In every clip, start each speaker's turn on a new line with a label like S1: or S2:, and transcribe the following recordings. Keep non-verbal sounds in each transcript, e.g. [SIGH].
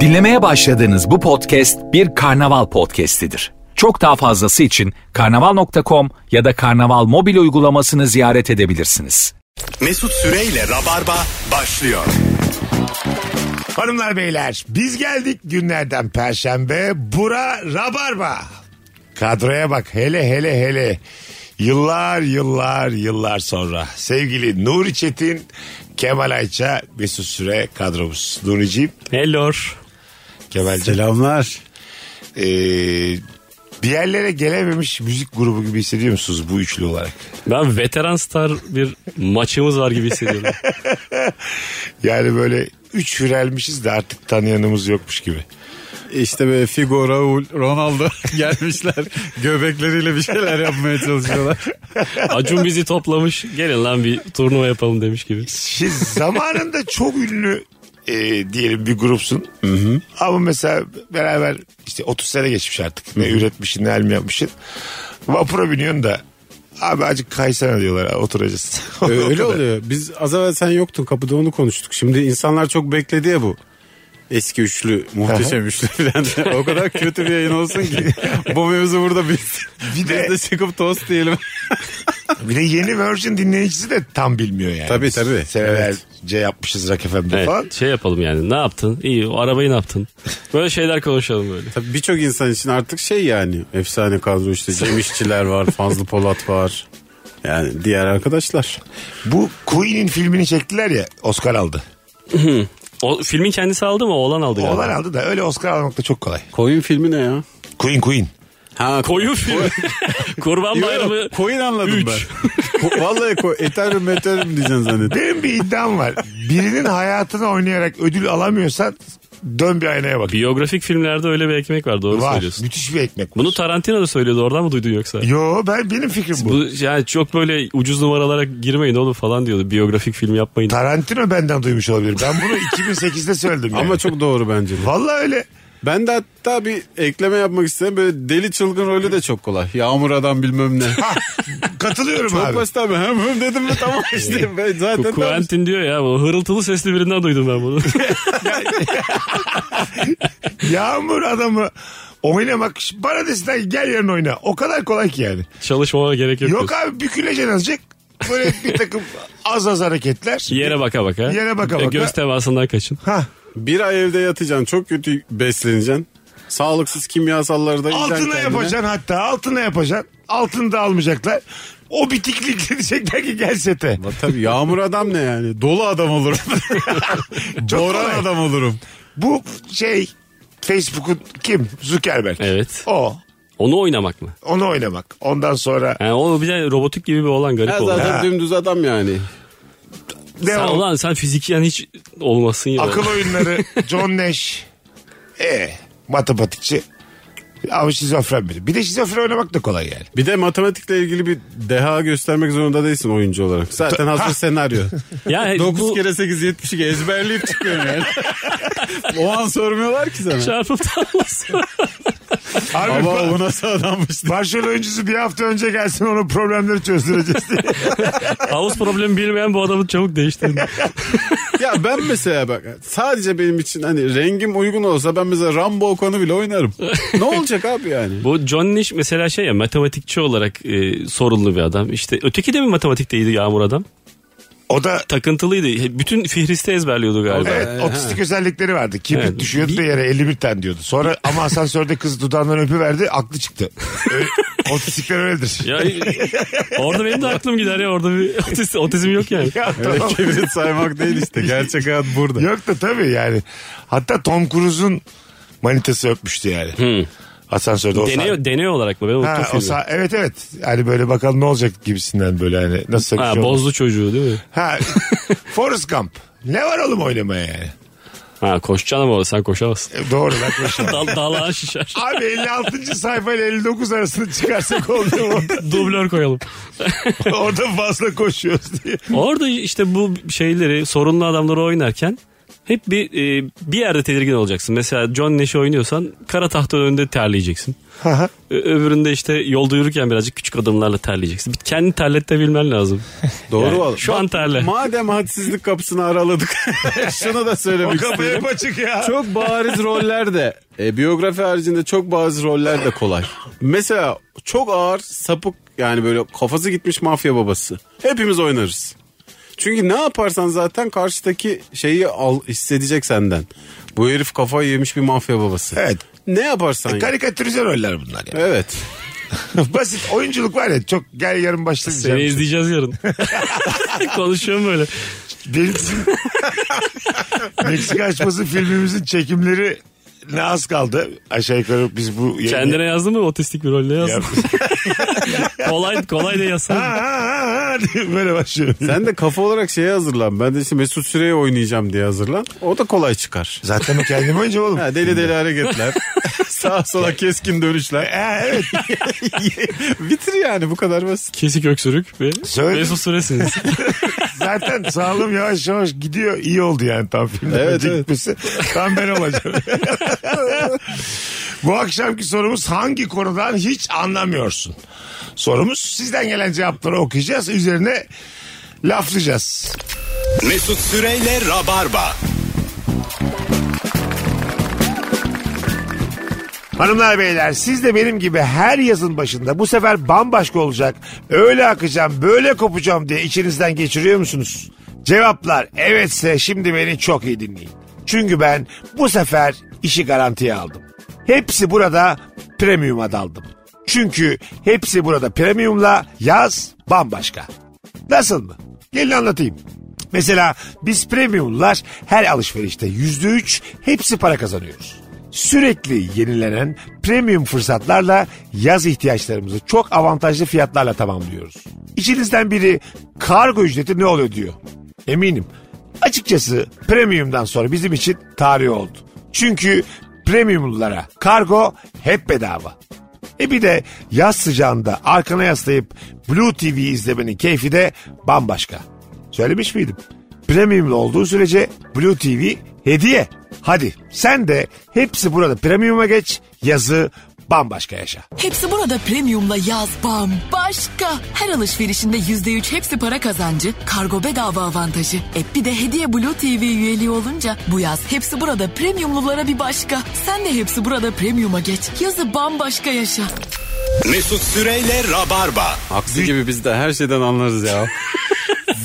S1: Dinlemeye başladığınız bu podcast bir karnaval podcastidir. Çok daha fazlası için karnaval.com ya da karnaval mobil uygulamasını ziyaret edebilirsiniz.
S2: Mesut Süreyle Rabarba başlıyor.
S3: Hanımlar beyler biz geldik günlerden perşembe. Bura Rabarba. Kadroya bak hele hele hele. Yıllar yıllar yıllar sonra sevgili Nuri Çetin, Kemal Ayça, Mesut Süre kadromuz. Nuri'ciğim,
S4: Hello.
S3: Kemal'ciğim.
S5: Selamlar.
S3: Ee, bir yerlere gelememiş müzik grubu gibi hissediyor musunuz bu üçlü olarak?
S4: Ben veteran star bir maçımız var
S3: [LAUGHS]
S4: gibi hissediyorum.
S3: Yani böyle üç hürelmişiz de artık tanıyanımız yokmuş gibi.
S5: İşte böyle Figo, Raul, Ronaldo [LAUGHS] gelmişler. Göbekleriyle bir şeyler yapmaya çalışıyorlar.
S4: Acun bizi toplamış. Gelin lan bir turnuva yapalım demiş gibi.
S3: Şimdi Şey, zamanında çok ünlü e, diyelim bir grupsun. Ama mesela beraber işte 30 sene geçmiş artık. Ne üretmişsin ne elmi yapmışsın. Vapura biniyorsun da abi acık kaysana diyorlar oturacağız. [LAUGHS]
S5: Ö- Öyle
S3: O kadar.
S5: oluyor. Biz az evvel sen yoktun kapıda onu konuştuk. Şimdi insanlar çok bekledi ya bu. Eski üçlü, muhteşem üçlü falan. o kadar kötü bir yayın olsun ki. bu mevzu burada biz.
S3: Bir de-
S5: biz de çıkıp tost diyelim.
S3: Bir de yeni version dinleyicisi de tam bilmiyor yani.
S5: Tabii, tabii.
S3: Senelerce yapmışız Rock FM'de falan.
S4: Evet, şey yapalım yani. Ne yaptın? İyi. O arabayı ne yaptın? Böyle şeyler konuşalım böyle.
S5: Tabii birçok insan için artık şey yani. Efsane kadro işte. Cem İşçiler var, Fazlı Polat var. Yani diğer arkadaşlar.
S3: Bu Queen'in filmini çektiler ya Oscar aldı.
S4: O filmin kendisi aldı mı? Oğlan aldı galiba.
S3: Olan aldı da öyle Oscar almak da çok kolay.
S5: Koyun filmi ne ya?
S3: Queen Queen.
S5: Ha,
S4: Koyun filmi. [LAUGHS] Kurban
S5: Yok, yok,
S4: Bayramı.
S5: koyun anladım
S3: [LAUGHS]
S4: Üç.
S5: ben. Ko- Vallahi koy, eterim eterim diyeceksin zannettim.
S3: Benim bir iddiam var. Birinin hayatını oynayarak ödül alamıyorsan dön bir aynaya bak.
S4: Biyografik filmlerde öyle bir ekmek var. Doğru
S3: Var.
S4: söylüyorsun.
S3: Müthiş bir ekmek. var.
S4: Bunu Tarantino da söylüyordu. Oradan mı duydun yoksa?
S3: Yo ben benim fikrim bu.
S4: Bu yani çok böyle ucuz numaralara girmeyin oğlum falan diyordu. Biyografik film yapmayın.
S3: Tarantino benden duymuş olabilir. Ben bunu 2008'de söyledim. yani.
S5: Ama çok doğru bence de.
S3: Vallahi öyle.
S5: Ben de hatta bir ekleme yapmak istedim. Böyle deli çılgın rolü de çok kolay. Yağmur adam
S3: [LAUGHS]
S5: bilmem ne.
S3: Ha, katılıyorum
S5: çok
S3: abi.
S5: basit abi. Hem hem dedim mi
S3: [LAUGHS]
S5: tamam işte. Ben zaten tamam.
S4: Quentin diyor ya bu hırıltılı sesli birinden duydum ben bunu.
S3: Yağmur adamı oynamak ş- bana desinler ki gel yarın oyna. O kadar kolay ki yani.
S4: Çalışmama gerek yok.
S3: Yok
S4: diyorsun.
S3: abi büküleceksin azıcık. Böyle bir takım az az hareketler.
S4: Yere baka baka. E,
S3: Yere baka baka.
S4: Göz temasından kaçın.
S3: Ha,
S5: Bir ay evde yatacaksın. Çok kötü besleneceksin. Sağlıksız kimyasalları da yiyeceksin
S3: altına
S5: kendine.
S3: yapacaksın hatta altına yapacaksın. Altını da almayacaklar. O bitiklik [LAUGHS] diyecekler ki gel sete.
S5: Ama Tabii yağmur adam ne yani? Dolu adam olurum.
S3: [LAUGHS] Çok
S5: Boran
S3: kolay.
S5: adam olurum.
S3: Bu şey Facebook'un kim? Zuckerberg.
S4: Evet.
S3: O.
S4: Onu oynamak mı?
S3: Onu oynamak. Ondan sonra
S4: Yani o bir de robotik gibi bir olan garip
S5: Ya
S4: olan.
S5: zaten dümdüz adam yani.
S3: ne
S4: Sen,
S3: o?
S4: ulan sen fiziken hiç olmasın ya.
S3: Akıl
S4: [LAUGHS]
S3: oyunları John Nash. E, matematikçi. Ama şizofren biri. Bir de şizofren oynamak da kolay yani.
S5: Bir de matematikle ilgili bir deha göstermek zorunda değilsin oyuncu olarak. Zaten [LAUGHS] hazır senaryo.
S3: [LAUGHS]
S4: Yani
S5: 9
S4: bu
S5: kere 8 72 ezberleyip çıkıyorsun yani. [LAUGHS] o an sormuyorlar ki sana.
S4: çarpıp
S3: [LAUGHS]
S4: tanımasın.
S3: Abi
S5: Ama
S3: ba-
S5: bu nasıl adammış diye.
S3: başrol oyuncusu bir hafta önce gelsin onun problemleri çözdüreceğiz diye.
S4: [LAUGHS] Havuz problemi bilmeyen bu adamı çabuk değiştirin.
S5: Ya ben mesela bak sadece benim için hani rengim uygun olsa ben mesela Rambo Okan'ı bile oynarım. ne olacak abi yani?
S4: bu John Nash mesela şey ya matematikçi olarak e, sorunlu bir adam. İşte öteki de mi matematikteydi Yağmur adam?
S3: O da
S4: Takıntılıydı. Bütün Fihriste ezberliyordu galiba.
S3: Ee, evet, otistik özellikleri vardı. Kibrit
S4: Evet.
S3: düşüyordu da yere 51 tane diyordu. Sonra ama asansörde kız dudağından öpüverdi aklı çıktı. Öyle, otistikler öyledir.
S4: Ya, [LAUGHS] orada benim de aklım gider ya orada bir [LAUGHS] otiz- otizm yok yani.
S3: Ya
S5: Öyle
S3: tamam.
S5: [LAUGHS] kibrit saymak değil işte. Gerçek hayat burada.
S3: Yok da tabii yani. Hatta Tom Cruise'un manitası öpmüştü yani. Asansörde o sah-
S4: Deney, deney olarak mı? Ben unuttum
S3: Ha, o
S4: Hmm. filmi.
S3: sah- evet evet. Hani böyle bakalım ne olacak gibisinden böyle hani nasıl bir
S4: Ha,
S3: şey oldu.
S4: bozdu çocuğu değil mi?
S3: Ha,
S4: [LAUGHS]
S3: Forrest Gump. Ne var oğlum oynamaya yani?
S4: Ha koşacaksın ama sen koşamazsın.
S3: E, Doğru lan
S4: [LAUGHS]
S3: koşma.
S4: Dal,
S3: [LAUGHS]
S4: dalağa şişer.
S3: Abi 56. sayfa ile 59 arasını çıkarsak oldu
S4: [LAUGHS]
S3: mu?
S4: Dublör koyalım.
S3: [LAUGHS] Orada fazla koşuyoruz diye.
S4: Orada işte bu şeyleri sorunlu adamları oynarken Hep bir e, bir yerde tedirgin olacaksın. Mesela John Nash'i oynuyorsan kara tahta önünde terleyeceksin. Ö- Öbüründe işte yolda yürürken birazcık küçük adımlarla terleyeceksin. Bir Kendini terletebilmen lazım.
S5: Doğru
S4: Yani
S5: valla.
S4: şu an terle.
S5: Madem hadsizlik kapısını araladık. [LAUGHS] şunu da
S3: O
S5: söylemek
S3: kapı
S5: istiyorum.
S3: hep açık ya.
S5: Çok bariz roller de e, biyografi haricinde çok bariz roller de kolay. Mesela çok ağır sapık yani böyle kafası gitmiş mafya babası. Hepimiz oynarız. Çünkü ne yaparsan zaten karşıdaki şeyi al, hissedecek senden. Bu herif kafayı yemiş bir mafya babası.
S3: Evet. E,
S5: Ne yaparsan yap.
S3: Karikatürize roller bunlar ya.
S5: [LAUGHS] Evet.
S3: Basit oyunculuk var ya çok gel yarın
S4: Seni
S3: başlayacağım. [LAUGHS]
S4: izleyeceğiz yarın. Konuşuyorum böyle.
S3: Benim Meksika açması filmimizin çekimleri ne az kaldı. Aşağı yukarı biz bu yayını-
S4: Kendine yazdın mı otistik bir rolde yazdın. kolay kolay da
S3: [LAUGHS] Ha,
S4: yazsan.
S3: ha, ha, ha diye böyle başlıyorum.
S5: Sen de kafa olarak şeye hazırlan. Ben de işte Mesut Süre'ye oynayacağım diye hazırlan. O da kolay çıkar.
S3: Zaten o kendim oyuncu oğlum.
S5: Ha, deli deli [LAUGHS] hareketler. Sağa sola keskin dönüşler.
S3: Ha, evet.
S5: [LAUGHS] Bitir yani bu kadar basit.
S4: Kesik öksürük ve
S3: Söyledim.
S4: Mesut Süresiniz.
S3: [LAUGHS] Zaten sağlığım yavaş yavaş gidiyor. İyi oldu yani tam filmde.
S5: Evet,
S3: Önce
S5: evet.
S3: gitmesi. Tam ben olacağım. [LAUGHS] Bu akşamki sorumuz hangi konudan hiç anlamıyorsun? Sorumuz sizden gelen cevapları okuyacağız. Üzerine laflayacağız.
S2: Mesut Süreyle Rabarba.
S3: Hanımlar beyler siz de benim gibi her yazın başında bu sefer bambaşka olacak. Öyle akacağım böyle kopacağım diye içinizden geçiriyor musunuz? Cevaplar evetse şimdi beni çok iyi dinleyin. Çünkü ben bu sefer işi garantiye aldım. Hepsi burada premium'a daldım. Çünkü hepsi burada premium'la yaz bambaşka. Nasıl mı? Gelin anlatayım. Mesela biz premiumlar her alışverişte yüzde üç hepsi para kazanıyoruz. Sürekli yenilenen premium fırsatlarla yaz ihtiyaçlarımızı çok avantajlı fiyatlarla tamamlıyoruz. İçinizden biri kargo ücreti ne oluyor diyor. Eminim. Açıkçası premiumdan sonra bizim için tarih oldu. Çünkü premiumlulara kargo hep bedava. E bir de yaz sıcağında arkana yaslayıp Blue TV izlemenin keyfi de bambaşka. Söylemiş miydim? Premiumlu olduğu sürece Blue TV hediye. Hadi sen de hepsi burada premium'a geç yazı bambaşka yaşa.
S6: Hepsi burada premiumla yaz bambaşka. Her alışverişinde %3 hepsi para kazancı, kargo bedava avantajı. E bir de hediye Blue TV üyeliği olunca bu yaz hepsi burada premiumlulara bir başka. Sen de hepsi burada premiuma geç. Yazı bambaşka yaşa.
S2: Mesut Süreyle Rabarba.
S5: Aksi gibi biz de her şeyden anlarız ya.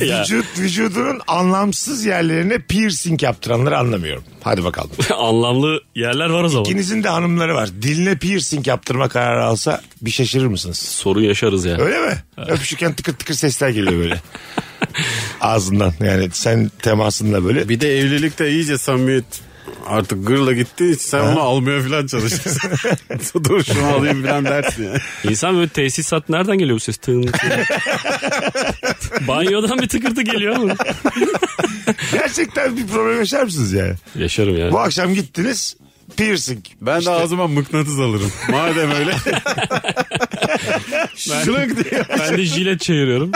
S3: Vücut vücudunun anlamsız yerlerine piercing yaptıranları anlamıyorum. Hadi bakalım.
S4: [LAUGHS] Anlamlı yerler var o zaman.
S3: İkinizin de hanımları var. Diline piercing yaptırma kararı alsa bir şaşırır mısınız?
S4: Sorun yaşarız ya.
S3: Öyle mi? Öpüşürken tıkır tıkır sesler geliyor böyle. Ağzından yani sen temasında böyle.
S5: Bir de evlilikte iyice samimiyet artık gırla gitti. Hiç sen onu almıyor falan çalışırsın. [LAUGHS] Dur şunu alayım falan dersin ya.
S4: İnsan böyle tesisat nereden geliyor bu ses? Tın,
S3: [LAUGHS]
S4: tın. Banyodan bir tıkırtı geliyor ama.
S3: Gerçekten bir problem yaşar mısınız yani?
S4: Yaşarım ya.
S3: Bu akşam gittiniz piercing.
S5: Ben de ağzıma mıknatıs alırım. Madem öyle. Şırık diye.
S4: Ben de jilet çeviriyorum.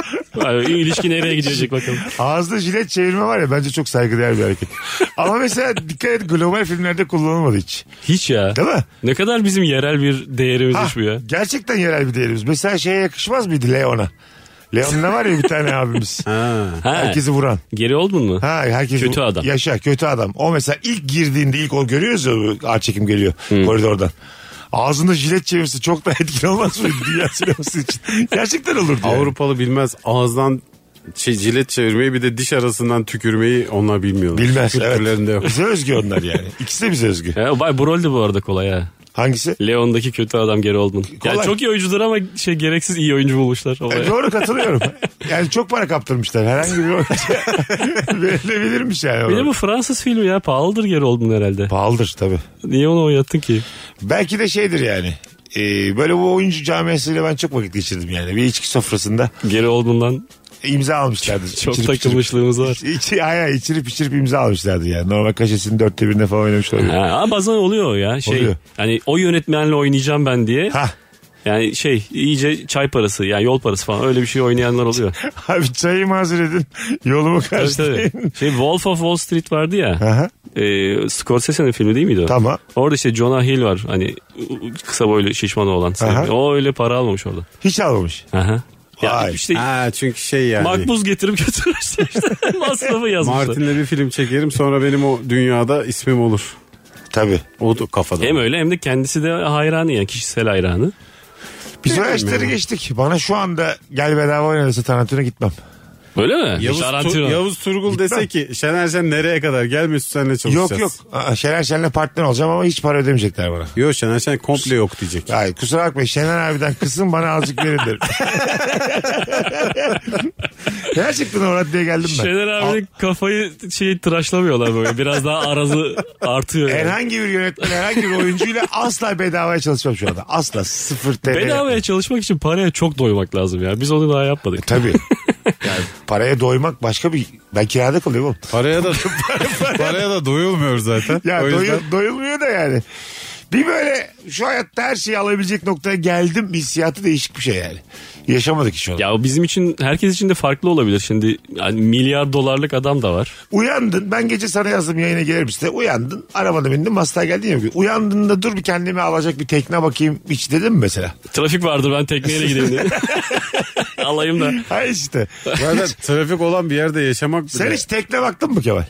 S4: Abi, ilişki nereye gidecek bakalım.
S3: Ağızda jilet çevirme var ya bence çok saygıdeğer bir hareket. Ama mesela dikkat et global filmlerde kullanılmadı hiç.
S4: Hiç ya.
S3: Değil mi?
S4: Ne kadar bizim yerel bir değerimizmiş bu
S3: Ha,
S4: ya.
S3: Gerçekten yerel bir değerimiz. Mesela şeye yakışmaz mıydı Leon'a? Leon'la var ya bir tane abimiz.
S4: Ha,
S3: Herkesi vuran.
S4: Geri oldun mu?
S3: Ha herkes
S4: Kötü adam.
S3: Yaşa kötü adam. O mesela ilk girdiğinde ilk o görüyoruz ya bu ağır çekim geliyor koridordan. Ağzında jilet çevirse çok da [LAUGHS] etkin olmaz mıydı dünya sineması için? Gerçekten olurdu. yani.
S5: [LAUGHS] Avrupalı bilmez ağızdan şey, cilet çevirmeyi bir de diş arasından tükürmeyi onlar bilmiyorlar.
S3: Bilmez.
S5: Kültürlerinde
S3: Evet.
S5: yok.
S3: Bize özgü onlar yani. İkisi de bize özgü.
S4: Ya, vay bu rol de bu arada kolay ha.
S3: Hangisi?
S4: Leon'daki kötü adam geri oldun.
S3: Kolay.
S4: Yani çok iyi oyuncudur ama şey gereksiz iyi oyuncu bulmuşlar.
S3: E,
S4: Olaya.
S3: Doğru katılıyorum. Yani çok para kaptırmışlar. Herhangi bir oyuncu [LAUGHS] verilebilirmiş yani.
S4: Bir de bu Fransız filmi ya pahalıdır geri oldun herhalde.
S3: Pahalıdır tabii.
S4: Niye onu oynattın ki?
S3: Belki de şeydir yani. E, böyle bu oyuncu camiasıyla ben çok vakit geçirdim yani. Bir içki sofrasında
S4: Geri oldundan
S3: imza almışlardı.
S4: çok
S3: İçirip içirip.
S4: takılmışlığımız var.
S3: İçi, ay, ay, içirip içirip imza almışlardı yani. Normal kaşesinin dörtte birine falan oynamış olabilir.
S4: Ha, ama bazen oluyor ya şey.
S3: Oluyor.
S4: Hani o yönetmenle oynayacağım ben diye.
S3: Hah.
S4: Yani şey iyice çay parası yani yol parası falan öyle bir şey oynayanlar oluyor.
S3: [LAUGHS] Abi çayımı hazır edin. Yolumu
S4: Tabii, tabii.
S3: karşılayın.
S4: Şey Wolf of Wall Street vardı ya.
S3: Aha.
S4: E, Scorsese'nin filmi değil miydi o?
S3: Tamam.
S4: Orada işte Jonah Hill var. Hani kısa boylu şişman olan.
S3: Aha.
S4: O öyle para almamış orada.
S3: Hiç almamış.
S4: Aha. Ya
S3: Vay.
S4: işte
S5: Ha çünkü şey yani.
S4: makbuz getirip [LAUGHS] götürmüşler işte. Masrafı yazmışlar.
S5: Martin'le bir film çekerim sonra benim o dünyada ismim olur.
S3: Tabii.
S5: O da kafada.
S4: Hem öyle hem de kendisi de hayranı yani kişisel hayranı.
S3: Biz o yaşları geçtik. Bana şu anda gel bedava oynarsa Tarantino gitmem.
S4: Öyle mi?
S5: Yavuz,
S4: Tarantino.
S5: Tur- Yavuz Turgul dese ki Şener Şen nereye kadar gelme senle çalışacağız.
S3: Yok yok. Aa, Şener Şen'le partner olacağım ama hiç para ödemeyecekler bana.
S5: Yok Şener Şen komple yok diyecek.
S3: Ay kusura bakma Şener abiden kısın bana azıcık verin derim. [LAUGHS] Gerçekten o raddeye geldim ben.
S4: Şener abinin kafayı şey tıraşlamıyorlar böyle. Biraz daha arazı
S3: [LAUGHS] E,
S4: artıyor. yani.
S3: Herhangi bir yönetmen, herhangi bir oyuncuyla asla bedavaya çalışmam şu anda. Asla sıfır TL.
S4: Bedavaya çalışmak için paraya çok doymak lazım ya. Biz onu daha yapmadık.
S3: E, Tabii. Yani paraya doymak başka bir... Ben kirada kalıyorum oğlum.
S5: Paraya [LAUGHS] da paraya da doyulmuyor zaten.
S3: Ya
S5: o yüzden
S3: doyu- doyulmuyor da yani. Bir böyle şu hayatta her şeyi alabilecek noktaya geldim hissiyatı değişik bir şey yani. Yaşamadık hiç onu.
S4: Ya o bizim için herkes için de farklı olabilir. Şimdi yani milyar dolarlık adam da var.
S3: Uyandın ben gece sana yazdım yayına gelir misin? diye. Uyandın arabada bindim hastaya geldin ya. Uyandığında dur bir kendimi alacak bir tekne bakayım hiç dedim mi mesela? [LAUGHS]
S4: Trafik vardır ben tekneyle gideyim diye. [LAUGHS] Alayım da.
S3: Ha işte.
S5: zaten trafik olan bir yerde yaşamak bile.
S3: Sen hiç tekne baktın mı Kemal?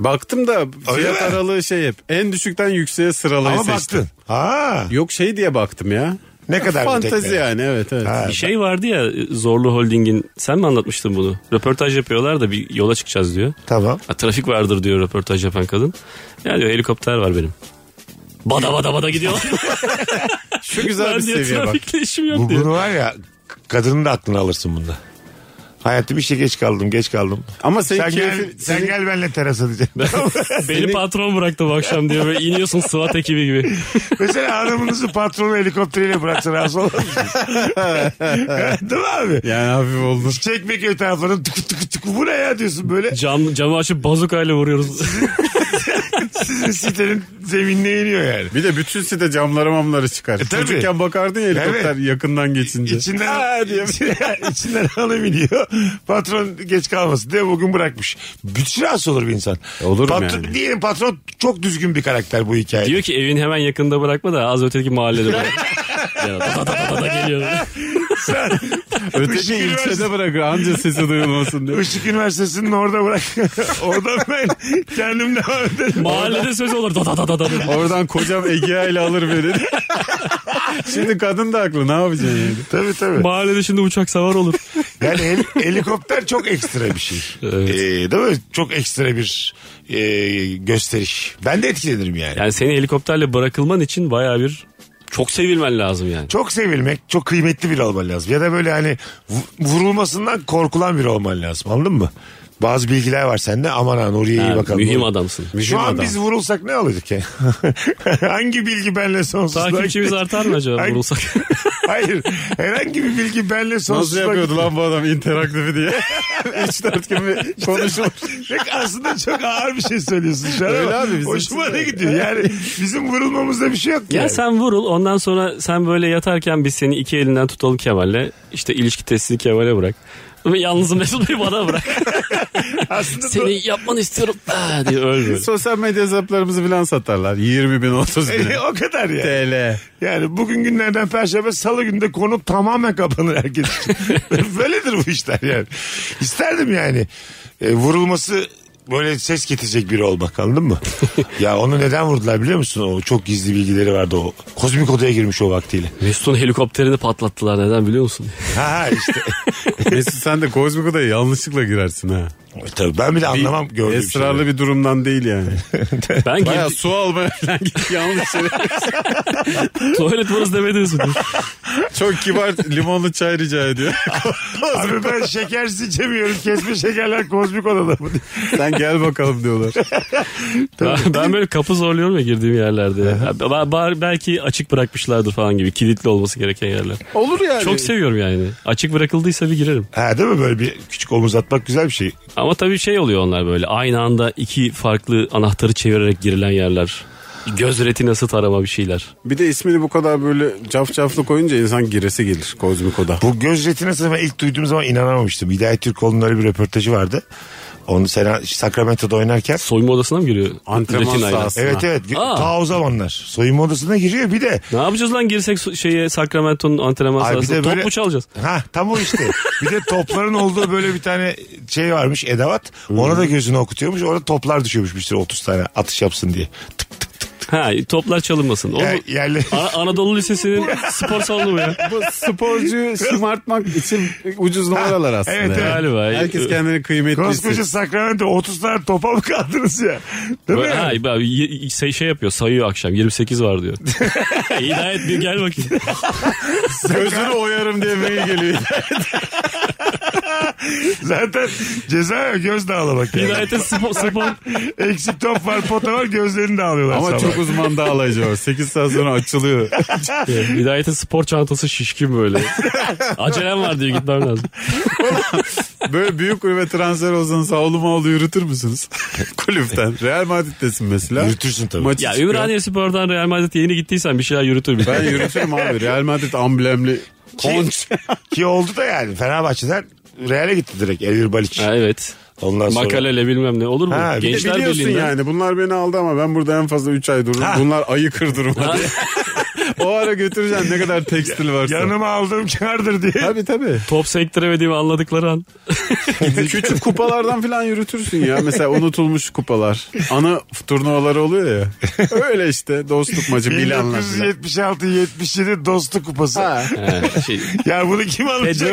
S5: Baktım da fiyat
S3: mi?
S5: aralığı şey hep en düşükten yükseğe sıralamayı
S3: Ama
S5: seçtim.
S3: baktın. Ha.
S5: Yok şey diye baktım ya.
S3: Ne kadar bir
S5: Fantezi
S3: tekne?
S5: yani evet evet.
S3: Ha.
S4: Bir şey vardı ya Zorlu Holding'in sen mi anlatmıştın bunu? Röportaj yapıyorlar da bir yola çıkacağız diyor.
S3: Tamam.
S4: Ha, trafik vardır diyor röportaj yapan kadın. Ya diyor helikopter var benim. Bada bada bada gidiyorlar.
S5: Şu güzel
S4: ben
S5: bir
S4: diyor
S5: seviye bak.
S4: trafikle işim yok
S3: Bu,
S4: diyor.
S3: bunu var ya kadının da aklını alırsın bunda. Hayatım işe geç kaldım geç kaldım.
S5: Ama senin
S3: Sen gel,
S5: keyfin-
S3: sen
S5: senin-
S3: gel benimle terasa
S5: [LAUGHS]
S3: diyeceğim.
S4: Beni patron bıraktı bu akşam diyor. Böyle iniyorsun SWAT ekibi gibi.
S3: Mesela hanımınızı patronu helikopteriyle bıraksa razı olur
S5: [LAUGHS]
S3: musunuz? Değil mi abi?
S5: Yani hafif oldu.
S3: Çekmeköy taraflarından tıkı tıkı tıkı bu ne ya diyorsun böyle.
S4: Cam, camı açıp bazukayla vuruyoruz.
S3: Sizin sitenin zeminine iniyor yani.
S5: Bir de bütün site camları mamları çıkar.
S3: E, tabii.
S5: Çocukken bakardın ya helikopter
S3: Evet.
S5: yakından geçince.
S3: İçinden, [LAUGHS] içinden, içinden hanım iniyor. Patron geç kalmasın diye bugün bırakmış. Bütün rahatsız olur bir insan.
S5: olurum
S3: patron,
S5: yani.
S3: Diyelim patron çok düzgün bir karakter bu hikayede.
S4: diyor ki evin hemen yakında bırakma da az öteki mahallede bırak. ya, da, da, da, da, da geliyor.
S3: Sen,
S5: Öteki
S3: Işık
S5: ilçede
S3: Üniversitesi-
S5: bırakır anca sesi duyulmasın diye.
S3: Işık Üniversitesi'nin orada bırak. Oradan ben kendim devam ederim.
S4: Mahallede söz olur. Da, da, da, da, da.
S5: Oradan kocam Egea ile alır beni. [LAUGHS] Şimdi kadın da haklı ne yapacaksın yani?
S3: Tabii tabii.
S4: Mahallede şimdi uçak savar olur.
S3: Yani hel- helikopter çok ekstra bir şey.
S4: Evet.
S3: Ee, değil mi? Çok ekstra bir e, gösteriş. Ben de etkilenirim yani.
S4: Yani seni helikopterle bırakılman için baya bir çok sevilmen lazım yani.
S3: Çok sevilmek, çok kıymetli biri olman lazım. Ya da böyle hani vu- vurulmasından korkulan biri olman lazım. Anladın mı? Bazı bilgiler var sende. Aman ha Nuriye iyi
S4: Yani
S3: bakalım.
S4: mühim adamsın.
S3: Şu an biz vurulsak ne alırdık ya? [LAUGHS] Hangi bilgi benle sonsuzluğa
S4: Takipçimiz
S3: gidecek?
S4: artar mı acaba
S3: Ay-
S4: vurulsak?
S3: [LAUGHS] Hayır. Herhangi bir bilgi benle
S5: Nasıl
S3: sonsuzluğa [LAUGHS]
S5: yapıyordu lan bu adam interaktifi diye. 3-4 gün bir konuşulur.
S3: Pek aslında çok ağır bir şey söylüyorsun şu an
S5: Öyle
S3: ama
S5: abi, bizim
S3: hoşuma
S5: için
S3: ne gidiyor. Yani bizim vurulmamızda bir şey yok
S4: ya
S3: yani.
S4: sen vurul ondan sonra sen böyle yatarken biz seni iki elinden tutalım Kemal'le. İşte ilişki testini Kemal'e bırak. Ve yalnız Mesut Bey bana bırak.
S3: Aslında
S4: seni yapmanı istiyorum. [LAUGHS] Ah, diye öl böyle.
S5: Sosyal medya hesaplarımızı falan satarlar. 20 bin 30
S3: [LAUGHS]
S5: bin.
S3: E, o kadar ya.
S5: TL.
S3: Yani bugün günlerden perşembe salı günde konu tamamen kapanır herkes için. Böyledir bu işler yani. İsterdim yani. E, vurulması böyle ses getirecek biri olmak anladın mı? ya onu neden vurdular biliyor musun? O çok gizli bilgileri vardı o. Kozmik odaya girmiş o vaktiyle.
S4: Mesut'un helikopterini patlattılar neden biliyor musun?
S3: Ha, ha işte.
S5: Mesut sen de Kozmik Oda'ya yanlışlıkla girersin ha.
S3: E, Tabii ben bile anlamam
S5: Bir
S3: gördüğüm şey
S5: Esrarlı
S3: şeyleri.
S5: bir durumdan değil yani.
S4: [LAUGHS]
S3: [LAUGHS]
S4: Ben
S5: Baya
S4: girdim.
S5: su [LAUGHS] almaya falan git yanlış şey. yere.
S4: [LAUGHS] Tuvalet burası demediniz mi?
S5: Çok kibar limonlu çay rica ediyor.
S3: Abi ben şekersiz içemiyorum. Kesme şekerler kozmik odada mı?
S5: sen gel bakalım diyorlar.
S4: Ben, ben böyle kapı zorluyorum ya girdiğim yerlerde. Ya ba- ba- belki açık bırakmışlardır falan gibi. Kilitli olması gereken yerler.
S5: Olur yani.
S4: Çok seviyorum yani. Açık bırakıldıysa bir girerim.
S3: Ha değil mi böyle bir küçük omuz atmak güzel bir şey.
S4: Ama tabii şey oluyor onlar böyle. Aynı anda iki farklı anahtarı çevirerek girilen yerler. Göz retinası tarama bir şeyler.
S5: Bir de ismini bu kadar böyle caf caflı koyunca insan giresi gelir Kozmiko'da.
S3: Bu göz retinasını ben ilk duyduğum zaman inanamamıştım. Hidayet Türkoğlu'nun öyle bir röportajı vardı. Onu Sena, Sacramento'da oynarken.
S4: Soyunma odasına mı giriyor?
S5: Antrenman
S4: Retinayla.
S5: sahası.
S3: Evet evet.
S4: Aa.
S3: Ta o zamanlar. Soyunma odasına giriyor bir de.
S4: Ne yapacağız lan girsek su- şeye Sacramento'nun antrenman
S3: Ay,
S4: sahasına. Top mu çalacağız?
S3: Ha tam o işte. bir de topların olduğu böyle bir tane şey varmış edavat. Ona da gözünü okutuyormuş. Orada toplar düşüyormuş bir sürü 30 tane atış yapsın diye. Tık tık.
S4: Ha toplar çalınmasın. O
S3: Ya,
S4: bu-
S3: yerle...
S4: Ana-
S3: [LAUGHS]
S4: Anadolu Lisesi'nin spor salonu bu ya.
S5: Bu sporcuyu şımartmak için ucuz numaralar aslında.
S3: Evet, evet.
S4: Galiba.
S5: Herkes kendini
S3: [LAUGHS]
S5: kıymetli
S3: Koskoca
S5: hissetsin.
S3: Sacramento 30 tane topa mı kaldınız ya? Değil mi?
S4: Ha, ben- y- şey, şey yapıyor sayıyor akşam 28
S3: [LAUGHS]
S4: var diyor. Hidayet bir gel bakayım.
S5: Gözünü oyarım diye mail geliyor.
S3: Zaten ceza göz dağlamak. Yani.
S4: Hidayet'e spor, spor
S3: Eksik top var pota var gözlerini dağılıyorlar
S5: Ama
S3: [LAUGHS] sabah.
S5: çok uzman dağlayıcı var. 8 saat sonra açılıyor.
S4: Hidayet'in spor çantası şişkin
S3: [LAUGHS]
S4: böyle. Acelem var diyor gitmem lazım.
S5: Böyle büyük kulübe transfer olsanız havlu mağlu yürütür müsünüz? [LAUGHS] Kulüpten. Real Madrid'desin mesela.
S3: Yürütürsün tabii.
S5: Maçı
S4: Ya
S5: çıkıyor.
S4: Ümraniye Spor'dan Real Madrid'e yeni gittiysen bir şeyler yürütür bir
S5: Ben yürütürüm abi. Real Madrid amblemli konç.
S3: [LAUGHS] Ki oldu da yani Fenerbahçe'den Real'e gitti direkt Elvir Baliç.
S4: Ha, evet.
S3: Ondan sonra.
S4: Makalele bilmem ne olur mu?
S3: Ha, bir de
S5: Bir de
S4: Gençler
S5: E, biliyorsun
S4: Birliği'nden.
S5: yani bunlar beni aldı ama ben burada en fazla 3 ay dururum. Bunlar ayı kırdırım hadi. [LAUGHS] o ara götüreceğim ne kadar tekstil varsa.
S3: Yanıma aldığım kardır diye.
S5: Tabii tabii.
S4: Top sektiremediğimi anladıkları an.
S5: Küçük kupalardan falan yürütürsün ya. Mesela unutulmuş kupalar. Ana turnuvaları oluyor ya. Öyle işte dostluk maçı Milan'la falan.
S3: 1976-77 dostluk kupası. [LAUGHS]
S5: Ha.
S4: Ha, şey,
S3: Ya bunu kim alacak?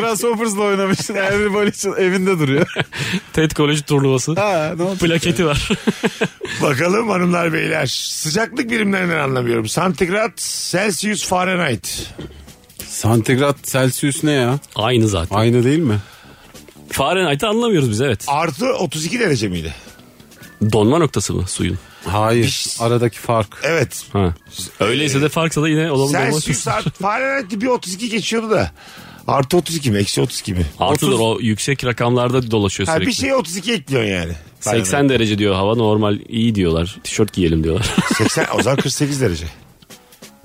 S3: [LAUGHS]
S5: Grasshoppers'la oynamışsın. Henry Bolic'in evinde duruyor.
S4: TED College turnuvası.
S5: Ha, ne oldu?
S4: Plaketi var.
S3: Bakalım hanımlar beyler. Sıcaklık birimlerinden anlamıyorum. Santigrat, Celsius, Fahrenheit.
S5: Santigrat Celsius ne ya?
S4: [LAUGHS] Aynı zaten.
S5: Aynı değil mi?
S4: Fahrenheit'i anlamıyoruz biz evet.
S3: Artı 32 derece miydi?
S4: Donma noktası mı suyun?
S5: Hayır. Aradaki fark.
S3: Evet.
S4: Ha. Öyleyse de farksa da yine olalım
S3: Celsius artı Fahrenheit'ti bir 32 geçiyordu da. Artı 32 mi? Eksi 32 mi?
S4: Artıdır o yüksek rakamlarda dolaşıyor
S3: Ha,
S4: sürekli.
S3: bir şeye 32 ekliyorsun yani.
S4: 80 derece diyor hava normal iyi diyorlar. Tişört giyelim diyorlar.
S3: 80 o zaman 48 derece.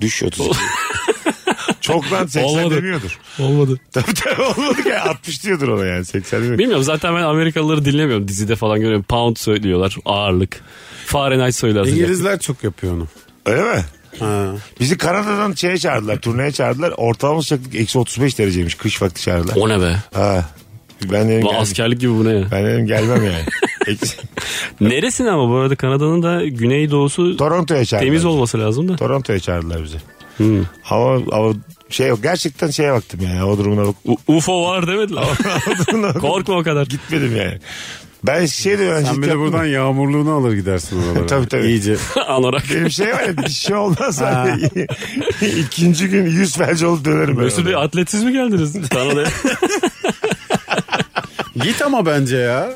S3: Düş 32. [LAUGHS] Çok lan 80
S4: Olmadı.
S3: demiyordur.
S4: [LAUGHS] Olmadı.
S3: Tabii tabii olmadı ya 60 diyordur ona yani 80 demiyor.
S4: Bilmiyorum zaten ben Amerikalıları dinlemiyorum. Dizide falan görüyorum. Pound söylüyorlar ağırlık. Fahrenheit söyler. sıcaklık.
S5: İngilizler çok yapıyor onu.
S3: Öyle mi?
S5: Ha.
S3: Bizi Kanada'dan şeye çağırdılar turneye çağırdılar. Ortalama sıcaklık eksi 35 dereceymiş kış vakti çağırdılar.
S4: O ne be?
S3: Ha. Ben dedim,
S4: Bu
S3: gel-
S4: askerlik gibi bu ne ya?
S3: ben dedim gelmem
S4: [LAUGHS]
S3: yani. Eksi-
S4: Neresine ama bu arada Kanada'nın da güneydoğusu
S3: Toronto'ya çağırdılar.
S4: temiz Hmm. olması lazım da.
S3: Toronto'ya çağırdılar bizi. Hava, hava şey yok. Gerçekten şeye baktım yani. Hava durumuna bak.
S4: U- UFO var demediler. Korkma o kadar.
S3: Gitmedim yani. Ben şey de öğrencilik
S5: Sen bir de
S3: yaptım.
S5: buradan yağmurluğunu alır gidersin oralara.
S3: Tabii, tabii.
S5: İyice.
S4: [LAUGHS] Anorak.
S3: Benim şey var ya bir şey olmaz abi. [LAUGHS] İkinci gün yüz felci olup dönerim. ben
S4: Mesut
S3: oraya.
S4: Bey atletsiz
S3: [LAUGHS]
S4: mi geldiniz? Kanada'ya.
S5: Git ama bence ya.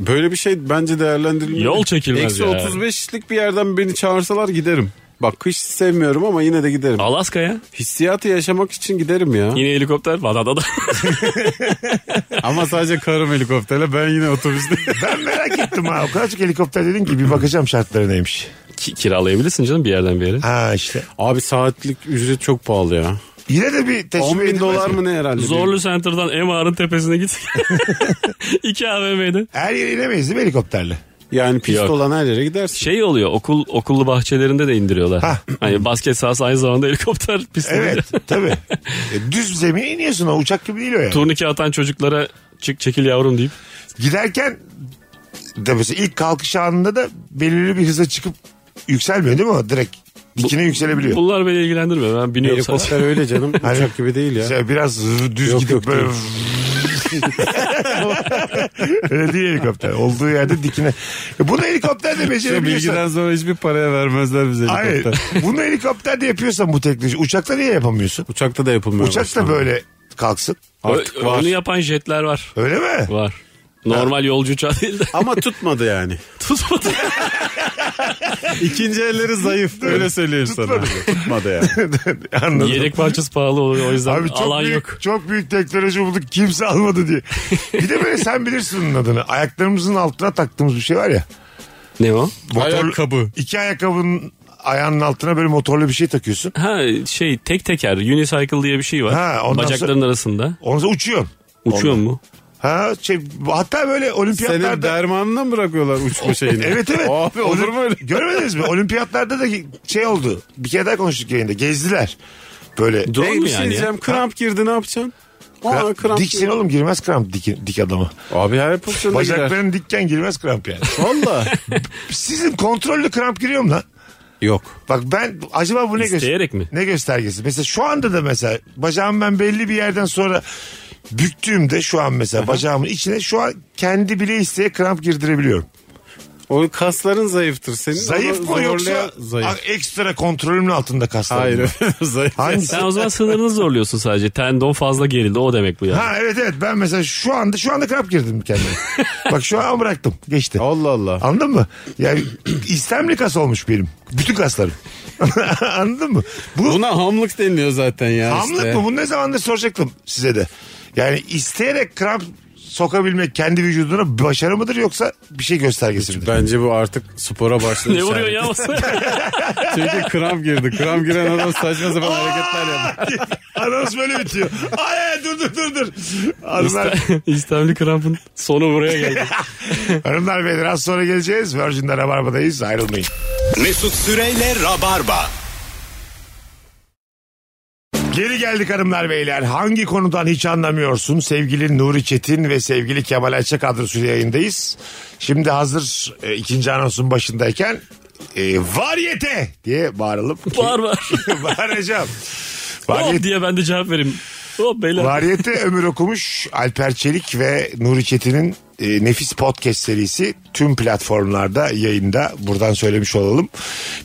S5: Böyle bir şey bence değerlendirilmeli.
S4: Yol çekilmez
S5: Eksi
S4: ya.
S5: 35'lik bir yerden beni çağırsalar giderim. Bak kış sevmiyorum ama yine de giderim.
S4: Alaska'ya.
S5: Hissiyatı yaşamak için giderim ya.
S4: Yine helikopter. Vadada'da.
S5: [LAUGHS] ama sadece karım helikopterle ben yine otobüste.
S3: Ben merak ettim ha. O kadar çok helikopter dedin ki bir bakacağım şartları neymiş.
S4: [LAUGHS] Ki- kiralayabilirsin canım bir yerden bir yere.
S3: Ha işte.
S5: Abi saatlik ücret çok pahalı ya.
S3: Yine de bir teşvik
S5: 10 bin
S3: edilmez
S5: dolar mı ne herhalde?
S4: Zorlu Center'dan MR'ın tepesine git.
S3: [LAUGHS]
S4: İki AVM'de.
S3: Her yere inemeyiz değil mi helikopterle?
S5: Yani pist
S4: Yok.
S5: olan her yere gidersin.
S4: Şey oluyor okul okullu bahçelerinde de indiriyorlar.
S3: Hah.
S4: Hani basket sahası aynı zamanda helikopter pisti.
S3: Evet tabii. E, düz zemine iniyorsun o uçak gibi değil o yani.
S4: Turnike atan çocuklara çık çekil yavrum deyip.
S3: Giderken de mesela ilk kalkış anında da belirli bir hıza çıkıp yükselmiyor değil mi o? Direkt dikine yükselebiliyor.
S4: Bunlar beni ilgilendirmiyor ben biniyorum sana. [LAUGHS]
S5: Helikopter öyle canım. Uçak gibi değil ya.
S3: Mesela biraz düz
S5: Yok,
S3: gidip
S5: yok,
S3: böyle...
S5: değil.
S3: [LAUGHS] Öyle değil helikopter. Olduğu yerde dikine. E Bunu helikopter de
S5: Şu
S3: becerebiliyorsan.
S5: bilgiden sonra hiçbir paraya vermezler bize
S3: Hayır.
S5: helikopter.
S3: Bunu helikopter de yapıyorsan bu teknoloji. Uçakta niye yapamıyorsun?
S5: Uçakta da yapılmıyor.
S3: Uçak da
S5: aslında.
S3: böyle kalksın.
S5: Artık
S4: Ö-
S5: var.
S4: Onu yapan jetler var.
S3: Öyle mi? [LAUGHS]
S4: Var. Normal yolcu uçağı değil de
S5: Ama tutmadı yani.
S4: tutmadı.
S5: İkinci elleri zayıf. öyle söyleyeyim sana. Tutmadı yani.
S3: Anladım.
S4: [LAUGHS] Yedek parçası pahalı oluyor o yüzden
S3: Abi çok
S4: alan
S3: büyük,
S4: yok.
S3: çok büyük teknoloji bulduk kimse almadı diye. Bir de böyle sen bilirsin onun adını. Ayaklarımızın altına taktığımız bir şey var ya.
S4: Ne o?
S3: Motor,
S5: Ayakkabı.
S3: İki ayakkabının ayağının altına böyle motorlu bir şey takıyorsun.
S4: Ha şey tek teker unicycle diye bir şey var.
S3: Ha, ondan
S4: Bacakların
S3: sonra-
S4: arasında.
S3: Ondan sonra uçuyorsun.
S4: Uçuyor mu?
S3: Ha şey hatta böyle
S5: Seni
S3: olimpiyatlarda
S5: dermanına mı bırakıyorlar uçma şeyini?
S3: Evet evet.
S5: [LAUGHS] Abi olur
S3: Olim-
S5: mu öyle?
S3: Görmediniz mi? Olimpiyatlarda da şey oldu. Bir kere daha konuştuk yayında. Gezdiler. Böyle. e,
S4: Drone mu
S5: Neymiş
S4: yani? ya?
S5: diyeceğim kramp girdi ne yapacaksın? Aa, kramp
S3: Diksin
S5: girdi.
S3: oğlum girmez kramp dik, dik adama.
S5: Abi her pozisyonda girer.
S3: Bacakların dikken girmez kramp yani. [LAUGHS]
S5: Valla.
S3: Sizin kontrollü kramp giriyor mu lan?
S5: Yok.
S3: Bak ben acaba bu ne
S4: İsteyerek mi?
S3: Ne göstergesi? Mesela şu anda da mesela bacağım ben belli bir yerden sonra büktüğümde şu an mesela bacağımın içine şu an kendi bile isteye kramp girdirebiliyorum.
S5: O kasların zayıftır senin.
S3: Zayıf
S5: Onu
S3: mı
S5: zorlayan
S3: yoksa
S5: Zayıf.
S3: a- ekstra kontrolümün altında kaslarım?
S5: Hayır [LAUGHS] zayıf.
S3: Hangisi?
S4: Sen o zaman sınırını zorluyorsun sadece. Tendon fazla gerildi o demek bu yani.
S3: Ha evet evet ben mesela şu anda şu anda kramp girdim
S4: [LAUGHS]
S3: kendime. Bak şu an bıraktım geçti.
S5: Allah Allah.
S3: Anladın mı? Yani [CLEARS THROAT] istemli kas olmuş benim. Bütün kaslarım. [LAUGHS] Anladın mı? Bu
S5: Buna hamlık deniliyor zaten ya
S3: hamlık
S5: işte.
S3: mı? Bunu ne zamandır soracaktım size de. Yani isteyerek kramp sokabilmek kendi vücuduna başarı mıdır yoksa bir şey göstergesi midir?
S5: Bence bu artık spora
S4: [LAUGHS]
S5: başladı.
S4: Ne vuruyor ya?
S5: Çünkü kram girdi. Kram giren adam saçma sapan hareketler yapıyor.
S3: [LAUGHS] Anons böyle bitiyor. Ay ay, dur dur dur dur. Hanımlar,
S4: [LAUGHS] İstemli krampın sonu buraya geldi.
S3: hanımlar beyler az sonra geleceğiz. Virgin'de Rabarba'dayız ayrılmayın.
S2: Mesut Süreyle Rabarba.
S3: Geri geldik hanımlar beyler. Hangi konudan hiç anlamıyorsun? Sevgili Nuri Çetin ve sevgili Kemal Ayça kadrosuyla yayındayız. Şimdi hazır e, ikinci anonsun başındayken e, varyete diye bağıralım.
S4: Var var.
S3: [LAUGHS] Bağıracağım.
S4: Hop
S3: Varyete,
S4: diye ben de cevap vereyim. Hop beyler.
S5: [LAUGHS]
S3: varyete ömür okumuş Alper Çelik ve Nuri Çetin'in e, nefis podcast serisi tüm platformlarda yayında. Buradan söylemiş olalım.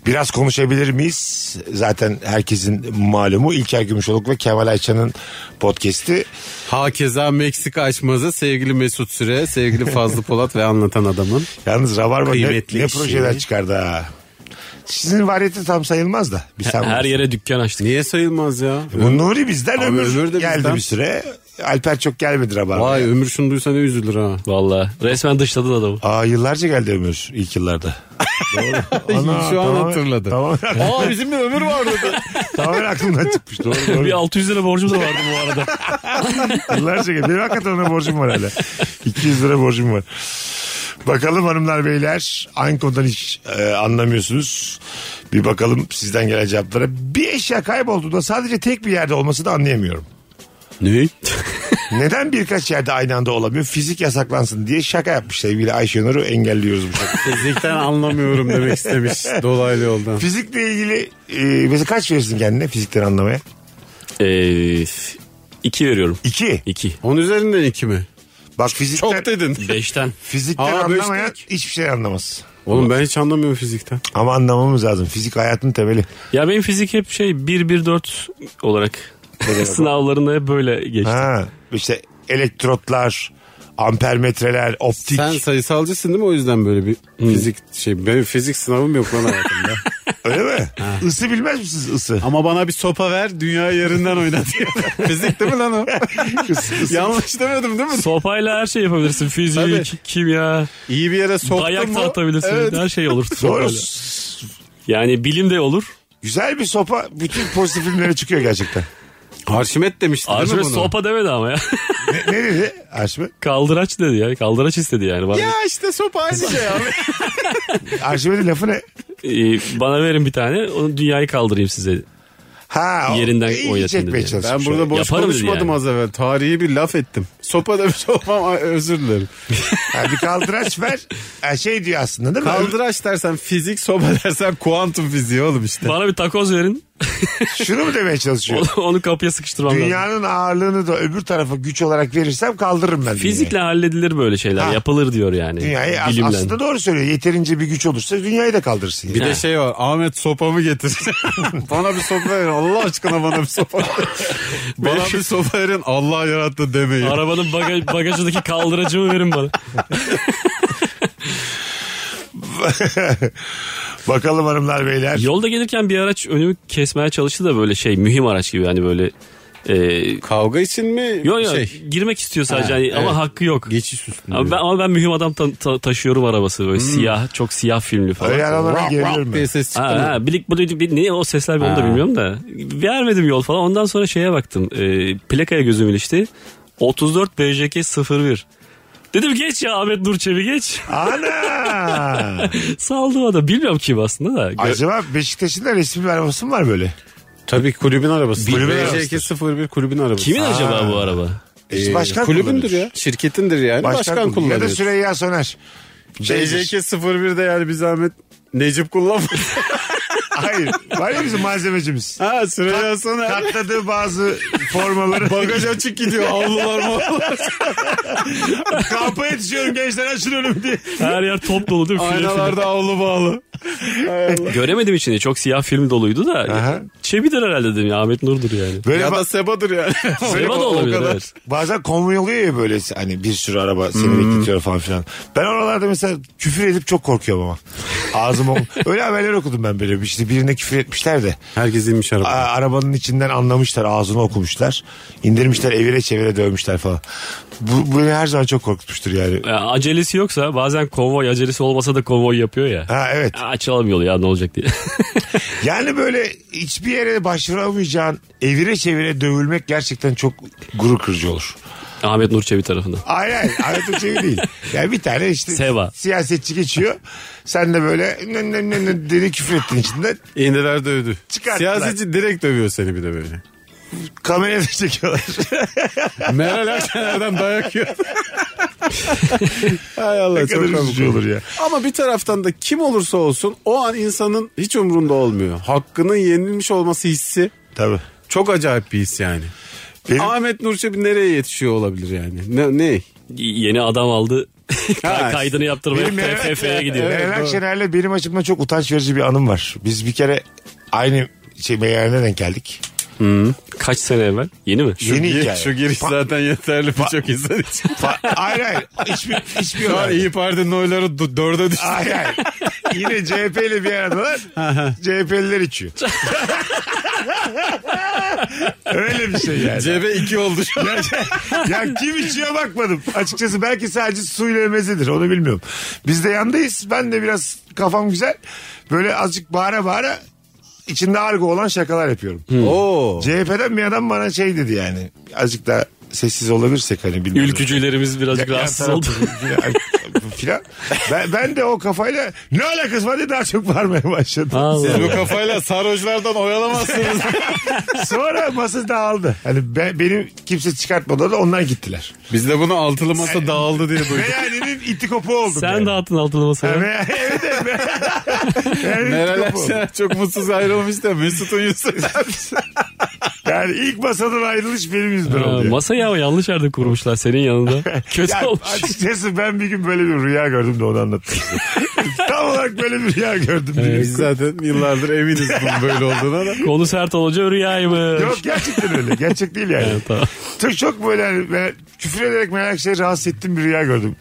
S3: Biraz konuşabilir miyiz? Zaten herkesin malumu İlker Gümüşoluk ve Kemal Ayça'nın podcast'i.
S5: Hakeza Meksika açmazı sevgili Mesut Süre, sevgili Fazlı Polat ve anlatan adamın.
S3: Yalnız Rabarba ne,
S5: Kıymetli şey.
S3: ne
S5: işi.
S3: projeler çıkardı ha. Sizin variyeti tam sayılmaz da. Bir sen
S4: Her
S3: varsın.
S4: yere dükkan açtık.
S5: Niye sayılmaz ya?
S3: Bu Nuri bizden
S5: Abi
S3: ömür,
S5: ömür de
S3: geldi
S5: bizden.
S3: bir süre. Alper çok gelmedi Rabarba.
S5: Vay ömür şunu duysa ne üzülür ha.
S4: Vallahi resmen dışladı adamı.
S3: Aa yıllarca geldi ömür ilk
S5: [LAUGHS]
S3: yıllarda. Doğru.
S5: Şu an hatırladı. [LAUGHS]
S3: Tamam,
S5: Aa bizim bir ömür vardı.
S3: tamamen aklımdan çıkmış. Doğru
S4: [LAUGHS] Bir
S3: doğru.
S4: 600 lira borcum da vardı bu arada.
S3: yıllarca geldi. Benim hakikaten ona borcum var hala. 200 lira borcum var. Bakalım hanımlar beyler aynı konudan hiç e, anlamıyorsunuz. Bir bakalım sizden gelen cevaplara. Bir eşya kaybolduğunda sadece tek bir yerde olması da anlayamıyorum.
S5: ne?
S3: Neden birkaç yerde aynı anda olamıyor? Fizik yasaklansın diye şaka yapmış sevgili Ayşenur'u engelliyoruz bu
S5: [LAUGHS]
S3: şaka.
S5: Fizikten anlamıyorum demek istemiş dolaylı yoldan.
S3: Fizikle ilgili e, mesela kaç verirsin kendine fizikten anlamaya?
S4: Ee, iki veriyorum.
S3: İki.
S4: İki.
S5: Onun üzerinden iki mi?
S3: Bak fizikten,
S5: Çok dedin.
S4: Beşten.
S3: fizikten
S5: Aa, beş
S3: anlamayan hiçbir şey anlamaz.
S5: Oğlum ben hiç anlamıyorum fizikten.
S3: Ama anlamamız lazım. Fizik hayatın temeli.
S4: Ya benim fizik hep şey 1-1-4 olarak [LAUGHS] sınavlarında hep böyle geçti.
S3: Ha, işte elektrotlar, ampermetreler, optik.
S5: Sen sayısalcısın değil mi o yüzden böyle bir fizik şey. Benim fizik sınavım yok lan hayatımda.
S3: Öyle mi? Isı bilmez misiniz ısı?
S5: [LAUGHS] Ama bana bir sopa ver dünya yerinden oynat. [LAUGHS] fizik değil mi
S3: [LAUGHS]
S5: lan o? Yanlış demedim değil mi?
S4: Sopayla her şey yapabilirsin. Fizik,
S5: Tabii.
S4: kimya,
S5: İyi bir yere soktun
S4: dayak
S5: mu?
S4: da atabilirsin.
S5: Evet.
S4: Her şey olur.
S3: Doğru.
S4: sopayla. Yani bilim de olur.
S3: Güzel bir sopa bütün pozitif filmlere çıkıyor gerçekten.
S5: Arşimet demişti değil mi
S4: Arşimet
S5: bunu?
S4: sopa demedi ama ya. [LAUGHS]
S3: Ne, ne dedi Arşimet?
S4: Kaldıraç dedi ya. Kaldıraç istedi yani. Bana,
S5: Ya işte sopa aynı şey abi.
S3: Arşimet'in lafı ne?
S4: Ee, bana verin bir tane. Onu dünyayı kaldırayım size.
S3: Ha, o-
S4: Yerinden
S3: ilgi
S4: oynatın
S3: çekmeye
S4: dedi.
S3: çalışmış
S5: Ben burada
S3: o.
S5: boş
S4: Yaparım
S5: konuşmadım
S4: yani.
S5: az evvel. Tarihi bir laf ettim. Sopa demiş sopam ay, özür dilerim.
S3: Ha, bir kaldıraç ver. Ha, şey diyor aslında değil mi?
S5: Kaldıraç dersen fizik, sopa dersen kuantum fiziği oğlum işte.
S4: Bana bir takoz verin.
S3: Şunu mu demeye çalışıyor?
S4: Onu, onu kapıya sıkıştırmam lazım.
S3: Dünyanın ağırlığını da öbür tarafa güç olarak verirsem kaldırırım ben.
S4: Fizikle halledilir böyle şeyler.
S3: Ha.
S4: Yapılır diyor yani.
S3: Dünyayı as-
S4: Bilimle.
S3: aslında doğru söylüyor. Yeterince bir güç olursa dünyayı da kaldırsın. yani.
S5: Bir de şey var Ahmet sopamı getir. [LAUGHS] bana bir sopa verin Allah aşkına bana bir sopa [LAUGHS] verin. bana bir sopa verin Allah yarattı demeyin.
S4: Arabanın bagaj, bagajındaki kaldıracımı verin bana.
S3: Bakalım hanımlar beyler.
S4: Yolda gelirken bir araç önümü kesmeye çalıştı da böyle şey mühim araç gibi hani böyle Ee,
S5: Kavga için mi?
S4: Yo yo
S5: Şey,
S4: girmek istiyor sadece
S5: Ha,
S4: hani ama
S5: evet.
S4: hakkı yok.
S5: geçiş üstünde.
S4: Ama ben, ama ben mühim adam ta- ta- taşıyorum arabası
S5: Hmm.
S4: böyle siyah çok siyah filmli falan.
S3: Öyle adamlara girilir
S5: Rap
S3: mi?
S5: diye ses çıktı
S4: Ha,
S5: mı?
S4: ha, bilik bilik bilik- ne o sesler ben onu da bilmiyorum da. Vermedim yol falan. Ondan sonra şeye baktım. E, plakaya gözüm ilişti. 34 BJK 01. Dedim geç ya Ahmet Nurçevi geç.
S5: Ah. [LAUGHS]
S3: Ana!
S4: Saldım o da. Bilmiyorum kim aslında da. Gö-
S3: Acaba Beşiktaş'ın da resimli arabası mı var böyle?
S5: Tabii kulübün arabası.
S3: Kulübün
S5: BJK 01 kulübün arabası. e,
S4: Kimin acaba bu araba?
S3: İşte başkan
S5: Kulübündür
S3: kullanır.
S5: ya. Şirketindir yani.
S3: Başkan,
S5: Başkan,
S3: kullanır. Ya
S5: kullanıyor.
S3: da Süreyya Soner. Şeydir.
S5: BJK 01'de yani bir zahmet Necip kullanmış.
S3: Hayır. Var ya bizim malzemecimiz.
S5: [LAUGHS] ha Süreyya Soner.
S3: Katladığı bazı formaları.
S5: Bagaj
S3: [LAUGHS]
S5: açık gidiyor. Avlular mavlular.
S3: Kampa yetişiyorum gençler açın önümü diye.
S4: Her yer top dolu değil mi? File file.
S5: [LAUGHS] Aynalarda avlu bağlı.
S4: Göremedim içinde. Çok siyah film doluydu da.
S3: Aha.
S4: Çebidir herhalde dedim ya. Ahmet Nur'dur yani.
S3: Böyle
S5: Ya
S3: ba-
S5: da sebadır [LAUGHS] yani.
S4: Seba da
S5: O
S4: olabilir.
S5: kadar.
S4: Evet.
S3: bazen konvoy oluyor ya böyle hani bir sürü araba seni bekletiyor falan filan. Ben oralarda mesela küfür edip çok korkuyorum ama. Ağzım o- Öyle haberler okudum ben böyle. İşte birine küfür etmişler de.
S5: Herkes inmiş
S3: a-
S5: araba.
S3: arabanın içinden anlamışlar ağzını okumuşlar. İndirmişler evire çevire dövmüşler falan. Bu, bu beni her zaman çok korkutmuştur yani.
S4: Ya, acelesi yoksa bazen konvoy acelesi olmasa da konvoy yapıyor ya.
S3: Ha evet.
S4: Ya, Açalım yolu ya ne olacak diye. [LAUGHS]
S3: Yani böyle hiçbir yere başvuramayacağın evire çevire dövülmek gerçekten çok gurur kırıcı olur.
S4: Ahmet Nurçevi tarafından.
S3: Hayır hayır Ahmet Uçevi değil. Yani bir tane işte
S4: Seva.
S3: siyasetçi geçiyor. Sen de böyle nın nın nın nın dedi küfür ettin içinden.
S5: İndiler dövdü.
S3: Çıkarttılar.
S5: Siyasetçi direkt dövüyor seni bir de böyle.
S3: Kameraya da
S5: [LAUGHS]
S3: çekiyorlar.
S5: Meral [LAUGHS] Erkener'den dayak yiyor. Hay Allah
S3: ne kadar
S5: çok komik
S3: üzücü olur ya.
S5: Ama bir taraftan da kim olursa olsun o an insanın hiç umrunda olmuyor. Hakkının yenilmiş olması hissi
S3: Tabii.
S5: çok acayip bir his yani.
S3: Benim-
S5: Ahmet Nurçebi nereye yetişiyor olabilir yani? Ne? ne?
S4: yeni adam aldı. [LAUGHS]
S5: Ha,
S4: Kaydını yaptırmaya
S3: Benim Meral-
S4: TFF'ye gidiyor.
S3: Meral Akşener'le benim açımdan çok utanç verici bir anım var. Biz bir kere aynı şey meyhanede denk geldik.
S4: Kaç sene evvel? Yeni mi?
S3: Yeni
S5: Şu
S3: hikaye.
S5: giriş- Şu giriş
S3: Pa-
S5: zaten yeterli birçok insan için.
S3: Fa- hayır hayır. Hiçbir, hiçbir
S5: Şu an
S3: olay.
S5: İYİ Parti'nin oyları du- dörde düştü.
S3: Hayır hayır. Yine CHP ile bir aradalar. CHP'liler
S5: [LAUGHS]
S3: içiyor. Öyle bir şey yani.
S5: CHP 2 oldu şu an.
S3: ya, ya kim içiyor bakmadım. Açıkçası belki sadece suyla mezedir onu bilmiyorum. Biz de yandayız. Ben de biraz kafam güzel. Böyle azıcık bağıra bağıra içinde argo olan şakalar yapıyorum.
S4: Hmm.
S5: Oo.
S3: CHP'den bir adam bana şey dedi yani. Azıcık da sessiz olabilirsek hani bilmiyorum.
S4: Ülkücülerimiz birazcık
S3: Yan
S4: rahatsız
S3: tarafı [LAUGHS]
S4: oldu.
S3: filan- filan. Ben, ben de o kafayla ne alakası var diye daha çok bağırmaya başladım.
S4: Allah.
S5: Siz bu kafayla sarhoşlardan oyalamazsınız.
S3: Sonra masa dağıldı. Hani be- benim kimse çıkartmadı da onlar gittiler.
S5: [LAUGHS] Biz de bunu altılı masa dağıldı [LAUGHS] diye duyduk.
S3: Meyhanenin iti kopu oldum.
S4: Sen
S3: yani.
S4: dağıttın altılı masaya.
S3: Evet, [LAUGHS] evet,
S4: [LAUGHS]
S3: evet. Yani
S5: Meral
S3: ilk topu.
S5: Akşener çok mutsuz ayrılmış da Mesut'un [LAUGHS] yüzünden.
S3: Yani ilk masadan ayrılış benim yüzümden
S4: Ha,
S3: oldu.
S4: masa ya yanlış yerde kurmuşlar
S3: [LAUGHS]
S4: senin yanında. Kötü
S3: Ya,
S4: olmuş.
S3: açıkçası ben bir gün böyle bir rüya gördüm de onu anlattım size.
S4: [LAUGHS]
S3: Tam olarak böyle bir rüya gördüm.
S5: Biz zaten yıllardır eminiz bunun böyle olduğuna [LAUGHS] da.
S4: Konu sert olunca rüyaymış.
S3: Yok gerçekten öyle. Gerçek değil yani.
S4: Evet, tamam.
S3: Çok, çok böyle hani ben küfür ederek merak şey rahatsız ettiğim bir rüya gördüm.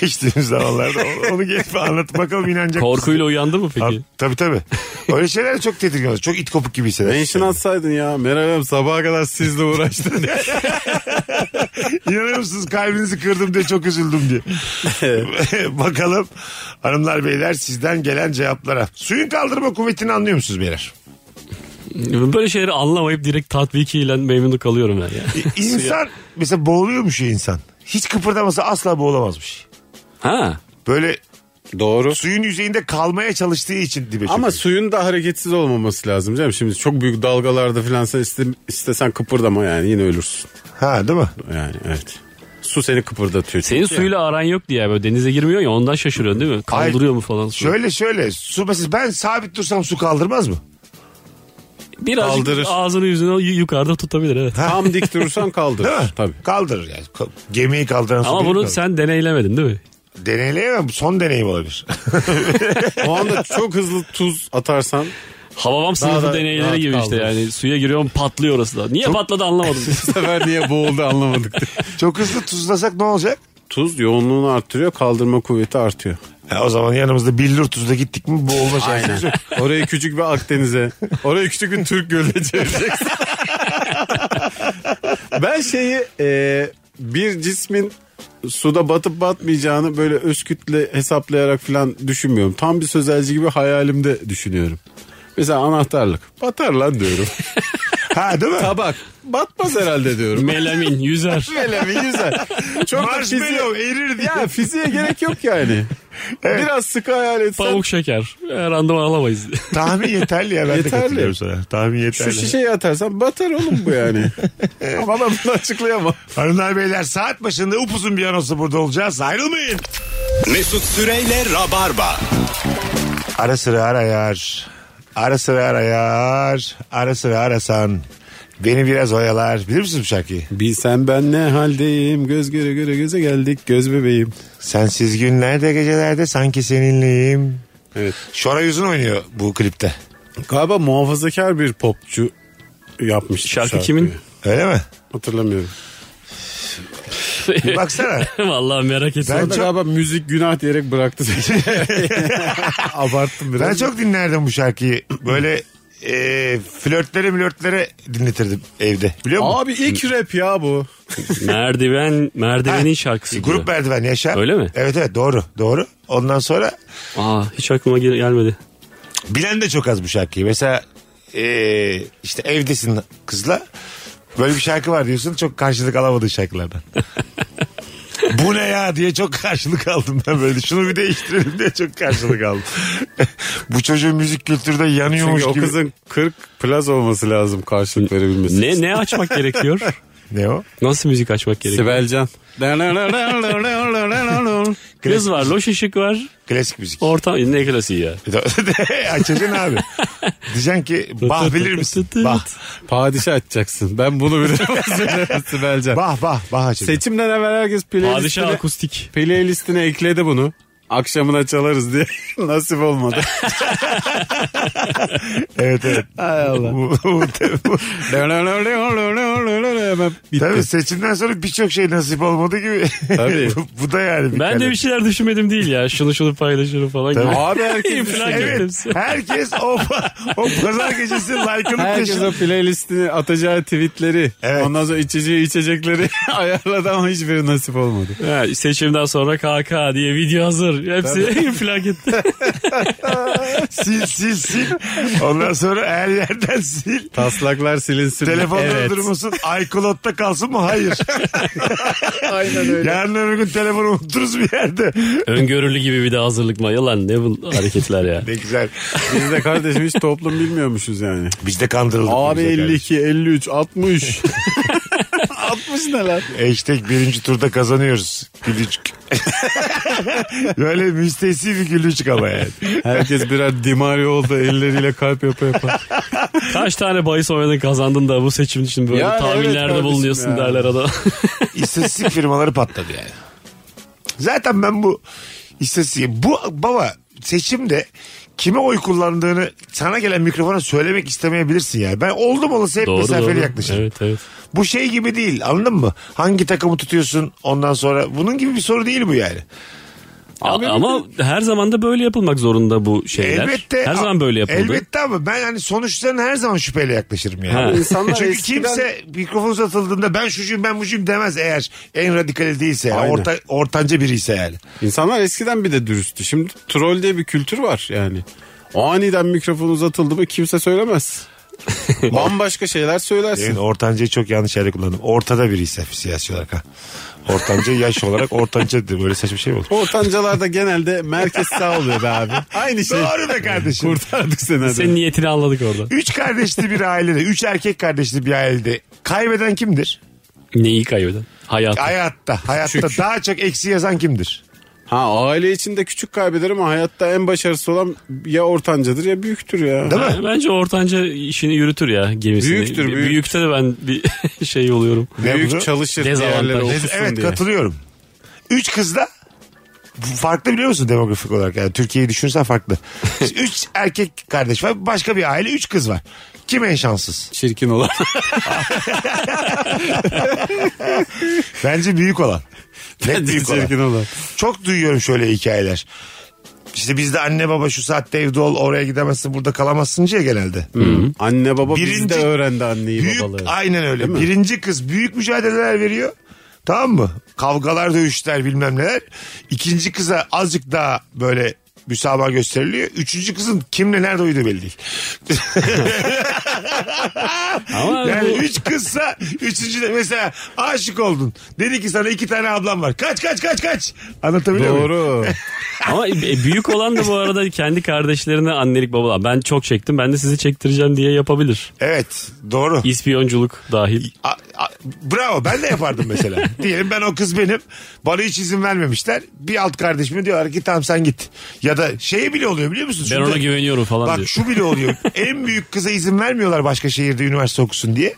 S3: Geçtiğimiz zamanlarda Onu- onu gelip anlat bakalım inanacak mısın?
S4: [LAUGHS] Korkuyla uyandı mı
S3: Ha,
S4: peki?
S3: Tabii tabii. Öyle şeyler çok tedirgin olur. Çok it kopuk gibi hisseder.
S5: Mention atsaydın ya. Meral Hanım sabaha kadar sizle uğraştım diye.
S3: İnanır mısınız kalbinizi kırdım diye çok üzüldüm diye. [LAUGHS] Bakalım hanımlar beyler sizden gelen cevaplara. Suyun kaldırma kuvvetini anlıyor musunuz beyler?
S4: Böyle şeyleri anlamayıp direkt tatbikiyle memnun kalıyorum ben ya.
S3: İ- İnsan mesela boğuluyormuş ya insan. Hiç kıpırdamasa asla boğulamazmış.
S4: Ha.
S3: Böyle
S5: Doğru.
S3: suyun yüzeyinde kalmaya çalıştığı için dibe
S5: Ama
S3: Ama
S5: suyun da hareketsiz olmaması lazım canım. Şimdi çok büyük dalgalarda filan sen iste- istesen kıpırdama yani yine ölürsün.
S3: Ha değil mi?
S5: Yani evet. Su seni kıpırdatıyor.
S4: Senin suyla aran yok diye böyle denize girmiyor ya ondan şaşırıyorsun değil mi? Kaldırıyor mu falan suyu?
S3: Şöyle şöyle su mesela ben sabit dursam su kaldırmaz mı?
S4: Birazcık
S5: Kaldırır.
S4: ağzını yüzünü yu- yukarıda tutabilir evet.
S5: Tam dik [LAUGHS] durursan
S3: Değil mi?
S5: kaldırır. Tabii.
S3: Kaldırır yani. Ka- Gemiyi kaldıran su
S4: Ama
S3: değil
S4: bunu
S3: mi?
S4: sen deneylemedin değil mi?
S3: Deneyleyemem. Son deneyim olabilir. [LAUGHS]
S5: O anda çok hızlı tuz atarsan
S4: Havabam sınıfı
S5: da rahat
S4: deneyleri gibi işte
S5: kaldırır.
S4: yani. Suya giriyorum patlıyor orası da. Niye patladı
S5: [LAUGHS]
S4: anlamadım.
S5: bu sefer niye boğuldu anlamadık.
S3: Çok hızlı tuzlasak ne olacak?
S5: Tuz yoğunluğunu arttırıyor kaldırma kuvveti artıyor.
S3: Ha, o zaman yanımızda billur tuzla gittik mi boğulma şansımız yok.
S5: Orayı küçük bir Akdeniz'e, orayı küçük bir Türk gölüne çevireceksin. Ben şeyi e, bir cismin suda batıp batmayacağını böyle özkütle hesaplayarak falan düşünmüyorum. Tam bir sözelci gibi hayalimde düşünüyorum. Mesela anahtarlık. Batar lan diyorum.
S3: Ha değil mi?
S5: Tabak. Batmaz herhalde diyorum.
S4: Melamin yüzer.
S5: Melemi güzel. Çok da fiziğe,
S3: Marshmallow erir diye.
S5: ya fiziğe gerek yok yani. Biraz sıkı hayal etsen
S4: Pamuk şeker. E, Randıman alamayız. [LAUGHS]
S3: Tahmin yeterli ya ben de
S5: Yeterli.
S3: katılıyorum sana. Tahmin
S5: şu
S3: yeterli.
S5: şişeyi atarsan batar oğlum bu [LAUGHS] yani. Ama ben bunu açıklayamam.
S3: Hanımlar beyler saat başında upuzun bir anonsu burada olacağız. Ayrılmayın.
S2: Mesut Süreyle Rabarba.
S3: Ara sıra arayar. Ara sıra arayar. Ara sıra arasan. Beni biraz oyalar. Bilir misin bu şarkıyı?
S5: Bilsen ben ne haldeyim göz göre göre göze geldik göz bebeğim.
S3: Sensiz günlerde gecelerde sanki seninleyim.
S5: Evet.
S3: Şoray Uzun oynuyor bu klipte.
S5: Galiba muhafazakar bir popçu yapmış. bu
S4: Şarkı
S5: şarkıyı.
S4: kimin?
S3: Öyle mi?
S5: Hatırlamıyorum.
S3: Bir baksana.
S4: Vallahi merak ettim.
S5: Ben
S3: çok-
S5: galiba müzik günah diyerek bıraktı. [LAUGHS] Abarttım biraz.
S3: Ben çok dinlerdim bu şarkıyı. Böyle e, flörtlere flörtlere dinletirdim evde. Biliyor musun?
S5: Abi ilk rap ya bu.
S4: Merdiven, merdivenin
S3: Ha,
S4: şarkısı.
S5: e,
S3: Grup
S4: diyor.
S3: merdiven yaşa.
S4: Öyle mi?
S3: Evet evet doğru doğru. Ondan sonra
S4: Aa, hiç aklıma gel- gelmedi.
S3: bilen de çok az bu şarkıyı. Mesela e, işte evdesin kızla böyle bir şarkı var diyorsun çok karşılık alamadığın
S5: [LAUGHS]
S3: şarkılardan. bu ne ya diye çok karşılık aldım ben böyle. Şunu bir değiştirelim diye çok karşılık aldım. [LAUGHS] bu çocuğun müzik kültürde yanıyormuş
S5: Çünkü o
S3: gibi.
S5: kızın 40 plus olması lazım karşılık verebilmesi.
S4: Ne ne
S5: [LAUGHS]
S4: açmak gerekiyor?
S3: Ne o?
S4: Nasıl müzik açmak gerekiyor?
S5: Sibelcan.
S4: Kız var, loş ışık var.
S3: Klasik müzik.
S4: Ortam ne klasiği ya.
S3: [LAUGHS] Açacaksın abi. Diyeceksin ki bah bilir misin? Bah.
S5: Padişah açacaksın. Ben bunu bilirim. [LAUGHS] Sibelcan.
S3: Bah bah bah açacaksın.
S5: Seçimden evvel herkes
S4: Padişah
S5: playlistine,
S4: akustik.
S5: playlistine ekledi bunu. Akşamına çalarız diye [LAUGHS] nasip olmadı.
S3: Evet evet. Hay Allah. bu, bu, bu,
S5: Hemen bitti.
S3: Tabii seçimden sonra birçok şey nasip olmadı gibi.
S5: Tabii.
S3: [LAUGHS] bu, bu da yani bir
S4: Ben de
S3: kalem.
S4: bir şeyler düşünmedim değil ya. Şunu şunu paylaşırım falan.
S3: Tabii.
S4: gibi.
S5: Abi herkes
S4: İflak
S3: Evet.
S4: ettim.
S3: Herkes o, o pazar gecesi like'ını
S5: Herkes o
S3: peşinde.
S5: playlistini atacağı tweetleri
S3: Evet.
S5: ondan sonra içeceği içecekleri [LAUGHS] ayarladı ama hiçbiri nasip olmadı.
S4: Ha, seçimden sonra KK diye video hazır. Hepsi [LAUGHS] infilak etti.
S3: Sil sil sil. Ondan sonra her yerden sil.
S5: Taslaklar silinsin.
S3: Telefonda
S5: evet.
S3: durmasın. iCloud'da kalsın mı? Hayır.
S5: [LAUGHS] Aynen öyle.
S3: Yarın öbür gün telefonu unuturuz bir yerde.
S4: Öngörülü gibi bir de hazırlık mı? Yalan ne bu hareketler ya.
S3: Ne güzel.
S5: Biz de kardeşim hiç toplum bilmiyormuşuz yani.
S3: Biz de kandırıldık.
S5: Abi
S3: bize
S5: 52,
S3: [LAUGHS]
S5: 53, 60. 60 ne lan?
S3: kardeşim. Hashtag birinci turda kazanıyoruz. [LAUGHS] Gülücük. Böyle müstehsi bir gülücük ama yani.
S5: Herkes birer dimari oldu elleriyle kalp yapa yapa.
S4: Kaç tane bahis oynadın kazandın da bu seçim için böyle
S5: Yani evet
S4: tahminlerde
S5: kardeşim
S4: bulunuyorsun
S5: ya.
S4: derler [LAUGHS] adam.
S3: İstatistik firmaları patladı yani. Zaten ben bu istatistik bu baba seçimde kime oy kullandığını sana gelen mikrofona söylemek istemeyebilirsin yani. Ben oldum olası hep mesafeli yaklaşırım.
S4: Evet evet.
S3: Bu şey gibi değil anladın mı? Hangi takımı tutuyorsun ondan sonra bunun gibi bir soru değil bu yani.
S5: Abi
S4: ama her zaman da böyle yapılmak zorunda bu şeyler.
S3: Elbette.
S4: Her zaman böyle yapıldı.
S3: Elbette ama ben hani sonuçlarına her zaman şüpheyle yaklaşırım yani.
S4: Ha.
S5: İnsanlar
S3: Çünkü
S5: eskiden-
S3: kimse mikrofon uzatıldığında ben şucuyum ben bucuyum demez eğer en radikali değilse. Yani.
S5: Aynen.
S3: Orta, ortanca biri ise yani.
S5: İnsanlar eskiden bir de dürüsttü. Şimdi troll diye bir kültür var yani. O aniden mikrofon uzatıldı mı
S3: [LAUGHS]
S5: kimse söylemez. Bambaşka şeyler
S3: Evet,
S5: söylersin.
S3: ortancayı çok yanlış yerde kullandım. Ortada biri ise siyasi olarak ha. Ortanca [LAUGHS] yaş olarak ortanca de böyle saçma şey mi olur.
S5: Ortancalarda genelde merkez sağ oluyor be abi. Aynı şey.
S3: Doğru be kardeşim.
S5: Kurtardık seni hadi.
S4: Senin niyetini anladık orada.
S3: Üç kardeşli bir ailede, üç erkek kardeşli bir ailede kaybeden kimdir?
S4: Neyi kaybeden? Hayat.
S3: Hayatta, hayatta daha çok eksi yazan kimdir?
S5: Ha aile içinde küçük kaybeder ama hayatta en başarısı olan ya ortancadır ya büyüktür ya.
S3: Değil mi?
S4: Yani Bence ortanca işini yürütür ya gemisini.
S5: Büyüktür,
S4: Bir-
S5: büyük.
S4: Büyükte de ben bir [LAUGHS] şey oluyorum.
S3: Ne bu?
S5: Büyük çalışır
S4: Dezavantaj.
S5: diğerleri
S4: Ne-
S5: okusun
S3: Evet
S5: diye.
S3: katılıyorum. Üç kızla farklı biliyor musun demografik olarak? Yani Türkiye'yi düşünsen farklı.
S5: [LAUGHS]
S3: üç erkek kardeş var. Başka bir aile üç kız var. Kim en şanssız? [LAUGHS]
S5: Çirkin olan.
S3: Bence büyük olan. Net büyük olan.
S5: [LAUGHS] Çirkin olan.
S3: Çok duyuyorum şöyle hikayeler. İşte bizde anne baba şu saatte evde ol oraya gidemezsin burada kalamazsın diye genelde.
S5: Anne baba
S3: Birinci-
S5: bizde öğrendi anneyi
S3: Büyük
S5: babalığı.
S3: aynen öyle. Birinci kız büyük mücadeleler veriyor. Tamam mı? Kavgalar, dövüşler bilmem neler. İkinci kıza azıcık daha böyle müsamaha gösteriliyor. Üçüncü kızın kimle nerede uyuduğu belli değil.
S4: Ama
S3: Yani
S4: bu-
S3: üç kızsa üçüncü de mesela aşık oldun. Dedi ki sana iki tane ablam var. Kaç kaç kaç kaç. Anlatabiliyor muyum?
S5: Doğru.
S4: Ama e, büyük olan da bu arada kendi kardeşlerine annelik babalık. Ben çok çektim ben de sizi çektireceğim diye yapabilir.
S3: Evet doğru.
S4: İspiyonculuk dahil.
S3: A- a- bravo ben de yapardım
S4: [LAUGHS]
S3: mesela. Diyelim ben o kız benim. Bana hiç izin vermemişler. Bir alt kardeşime diyorlar ki tamam sen git. Ya da şey bile oluyor biliyor musun?
S4: Ben
S3: Şurada-
S4: ona güveniyorum falan
S3: Bak
S4: diyor.
S3: şu bile
S4: [LAUGHS]
S3: oluyor. en büyük kıza izin vermiyorlar başka şehirde üniversite okusun diye.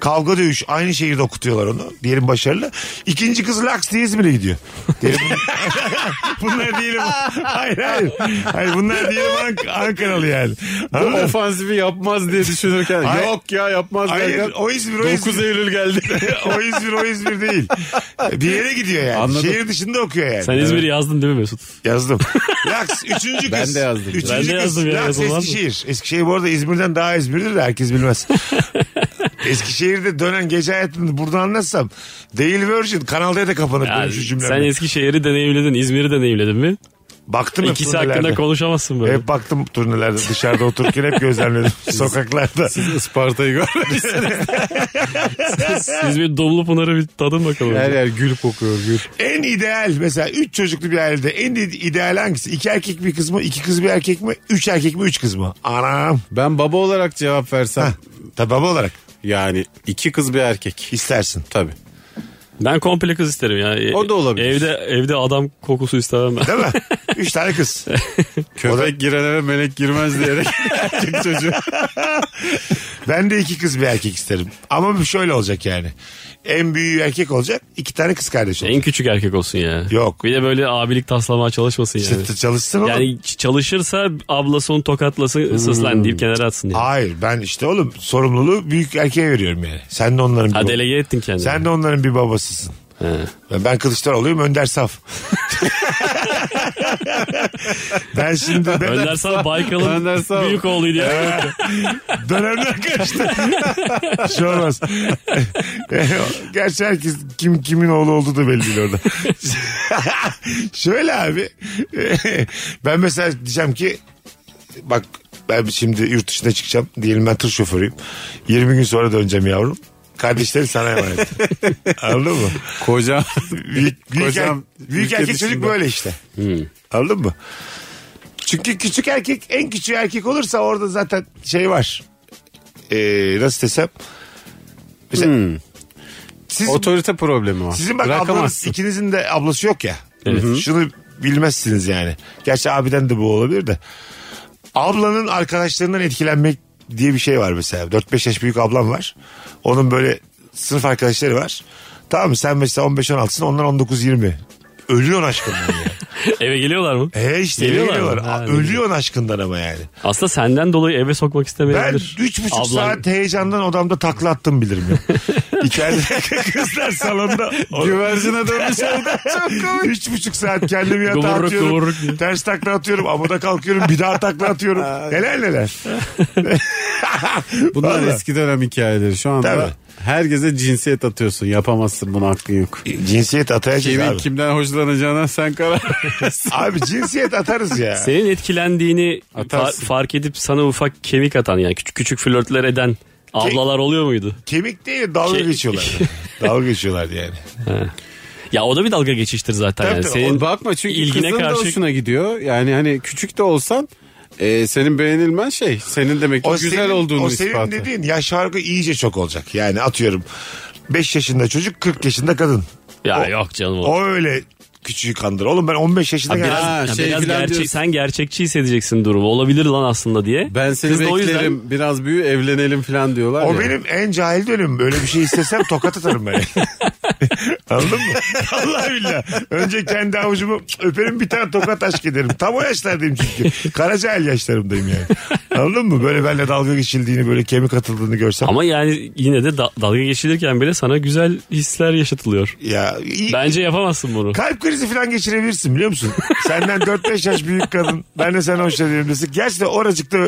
S3: Kavga dövüş aynı şehirde okutuyorlar onu. Diyelim başarılı. İkinci kız laks diye İzmir'e gidiyor. Diyelim, [LAUGHS] bunlar diyelim. Hayır hayır. hayır bunlar diyelim Ank- Ankaralı yani. Anladın mı?
S5: Ofansifi yapmaz diye düşünürken
S3: Hayır.
S5: yok ya yapmaz
S3: Hayır,
S5: derken
S3: o İzmir, o İzmir.
S5: 9 Eylül geldi.
S3: [LAUGHS] o İzmir o İzmir değil. Bir yere gidiyor yani.
S5: Anladım.
S3: Şehir dışında okuyor yani.
S4: Sen İzmir'i yazdın değil mi Mesut?
S3: Yazdım. Laks üçüncü kız.
S5: Ben de yazdım.
S3: Üçüncü
S4: Ben de
S3: kız.
S4: yazdım ya,
S3: Laks
S4: yazılmaz mı?
S3: Eskişehir. Eskişehir bu arada İzmir'den daha İzmir'dir de herkes bilmez. Eskişehir'de dönen gece hayatını burada anlatsam değil Virgin Kanal D'de kapanıp
S4: Ya,
S3: yani, şu cümlemle.
S4: sen Eskişehir'i deneyimledin, İzmir'i deneyimledin mi?
S3: Baktım hep
S4: İkisi hakkında
S3: turnelerde.
S4: konuşamazsın böyle.
S3: Hep baktım turnelerde dışarıda otururken hep gözlemledim sokaklarda.
S5: Isparta'yı görmemişsin.
S4: İzmir Domlu Pınar'ı bir tadın bakalım.
S5: Her yer gül kokuyor gül.
S3: En ideal mesela 3 çocuklu bir ailede en ide- ideal hangisi? 2 erkek bir kız mı? 2 kız bir erkek mi? 3 erkek mi? 3 kız mı? Anam.
S5: Ben baba olarak cevap versem
S3: Tabi baba olarak
S5: yani iki kız bir erkek.
S3: istersin.
S5: Tabii.
S4: Ben komple kız isterim ya. E,
S5: O da olabilir.
S4: Evde evde adam kokusu istemem ben.
S3: Değil mi? [LAUGHS] 3 tane kız.
S5: Köpek giren eve melek girmez diyerek [LAUGHS] erkek çocuğu.
S3: Ben de iki kız bir erkek isterim. Ama şöyle olacak yani. En büyüğü erkek olacak. iki tane kız kardeş
S4: En
S3: olacak.
S4: küçük erkek olsun ya.
S3: Yok.
S4: Bir de böyle abilik taslamaya çalışmasın
S3: İşte
S4: yani.
S3: çalışsın oğlum.
S4: Yani ç- çalışırsa ablası onu tokatlasın
S3: Hmm.
S4: ıssız lan deyip kenara atsın yani.
S3: Hayır ben işte oğlum sorumluluğu büyük erkeğe veriyorum yani. Sen de onların bir
S4: Ha
S3: bab-
S4: delege ettin kendini.
S3: Sen de onların bir babasısın. Ben Kılıçdaroğlu'yum Önder Saf. ben şimdi ben [LAUGHS]
S4: Önder sana Baykal'ın
S5: Önder sağ ol.
S4: büyük oğluydu ya.
S3: dönemler kaçtı. Bir şey olmaz. [LAUGHS] Gerçi herkes kim kimin oğlu olduğu da belli değil orada. [LAUGHS] Şöyle abi. ben mesela diyeceğim ki bak ben şimdi yurt dışına çıkacağım. Diyelim ben tır şoförüyüm. 20 gün sonra döneceğim yavrum. Kardeşlerim sana emanet. Anladın mı?
S5: Kocam.
S3: Büyük, büyük, er-
S5: Kocam
S3: büyük
S5: ülke
S3: erkek çocuk
S5: dışında.
S3: böyle işte. Anladın mı? Çünkü küçük erkek en küçük erkek olursa orada zaten şey var. Ee, nasıl desem? Mesela, siz,
S5: Otorite problemi var.
S3: sizin bak ablanız,
S5: Bırakamazsın.
S3: ikinizin de ablası yok ya. Şunu bilmezsiniz yani. Gerçi abiden de bu olabilir de. Ablanın arkadaşlarından etkilenmek diye bir şey var mesela. 4-5 yaş büyük ablam var. Onun böyle sınıf arkadaşları var. Tamam mı? Sen mesela 15-16'sın onlar 19-20. Ölüyorsun aşkından
S4: [LAUGHS]
S3: yani.
S4: [LAUGHS] Eve geliyorlar mı?
S3: He işte
S4: Geliyorlar mı?
S3: geliyorlar.
S4: Ha,
S3: A-
S4: ne
S3: Ölüyorsun aşkından ama yani.
S4: Aslında senden dolayı eve sokmak
S3: Ben
S4: istemeyebilir.
S3: üç buçuk
S4: Ablan-
S3: saat heyecandan odamda takla attım bilirim
S5: [LAUGHS]
S3: ya. İçeride kızlar salonda. [LAUGHS]
S5: Güvercine dönmüş evde. şey Çok komik.
S3: Üç buçuk saat kendimi yatağa
S4: Kıvırık
S3: atıyorum.
S4: kıvırık diye.
S3: Ters takla atıyorum. Amuda kalkıyorum. Bir daha takla atıyorum. neler neler.
S5: Bunlar
S3: Vallahi.
S5: eski dönem hikayeleri. Şu anda
S3: Tabii.
S5: herkese cinsiyet atıyorsun. Yapamazsın buna hakkın yok.
S3: Cinsiyet atayacağız
S5: Kimin
S3: abi.
S5: kimden hoşlanacağına sen karar verirsin.
S3: Abi cinsiyet atarız ya.
S4: Senin etkilendiğini
S5: Atarsın.
S4: fa- fark edip sana ufak kemik atan yani küçük küçük flörtler eden ablalar oluyor muydu?
S3: Kemik değil dalga
S4: Ke-
S5: [LAUGHS]
S3: geçiyorlar. dalga geçiyorlar yani.
S4: Ya o da bir dalga geçiştir zaten.
S3: Tabii
S4: yani.
S3: tabii,
S4: Senin
S5: Bakma çünkü
S4: ilgine
S5: kızın da
S4: karşı
S5: hoşuna gidiyor. Yani hani küçük de olsan e, senin beğenilmen şey. Senin demek ki güzel
S3: senin-
S5: olduğunu
S3: O senin
S5: ispatı.
S3: dediğin yaş farkı iyice çok olacak. Yani atıyorum 5 yaşında çocuk 40 yaşında kadın.
S4: ya
S3: o-
S4: yok canım o.
S3: O öyle küçüğü kandır. Oğlum ben 15 yaşında
S4: Ha,
S3: geldim.
S4: biraz,
S5: Ha,
S4: ya
S5: şey
S4: biraz
S5: filan
S4: gerçek-
S5: diyorsun.
S4: sen gerçekçi hissedeceksin durumu. Olabilir lan aslında diye.
S5: Ben seni
S4: Kız da o yüzden-
S5: beklerim biraz büyü evlenelim falan diyorlar
S3: O
S5: ya.
S3: benim en cahil dönüm. Böyle bir şey istesem tokat atarım
S4: [LAUGHS]
S3: ben. Anladın mı? Allah billah. Önce kendi avucumu öperim bir tane tokat aşk ederim. Tam o yaşlardayım çünkü. Kara cahil yaşlarımdayım yani. Anladın mı? Böyle benimle dalga geçildiğini böyle kemik atıldığını görsem.
S4: Ama yani yine de da- dalga geçilirken bile sana güzel hisler yaşatılıyor.
S3: Ya iyi-
S4: Bence yapamazsın bunu.
S3: Kalp krizi falan geçirebilirsin biliyor musun? Senden 4-5 yaş büyük kadın. Ben de sana hoşlanıyorum desin. Gerçekten oracıkta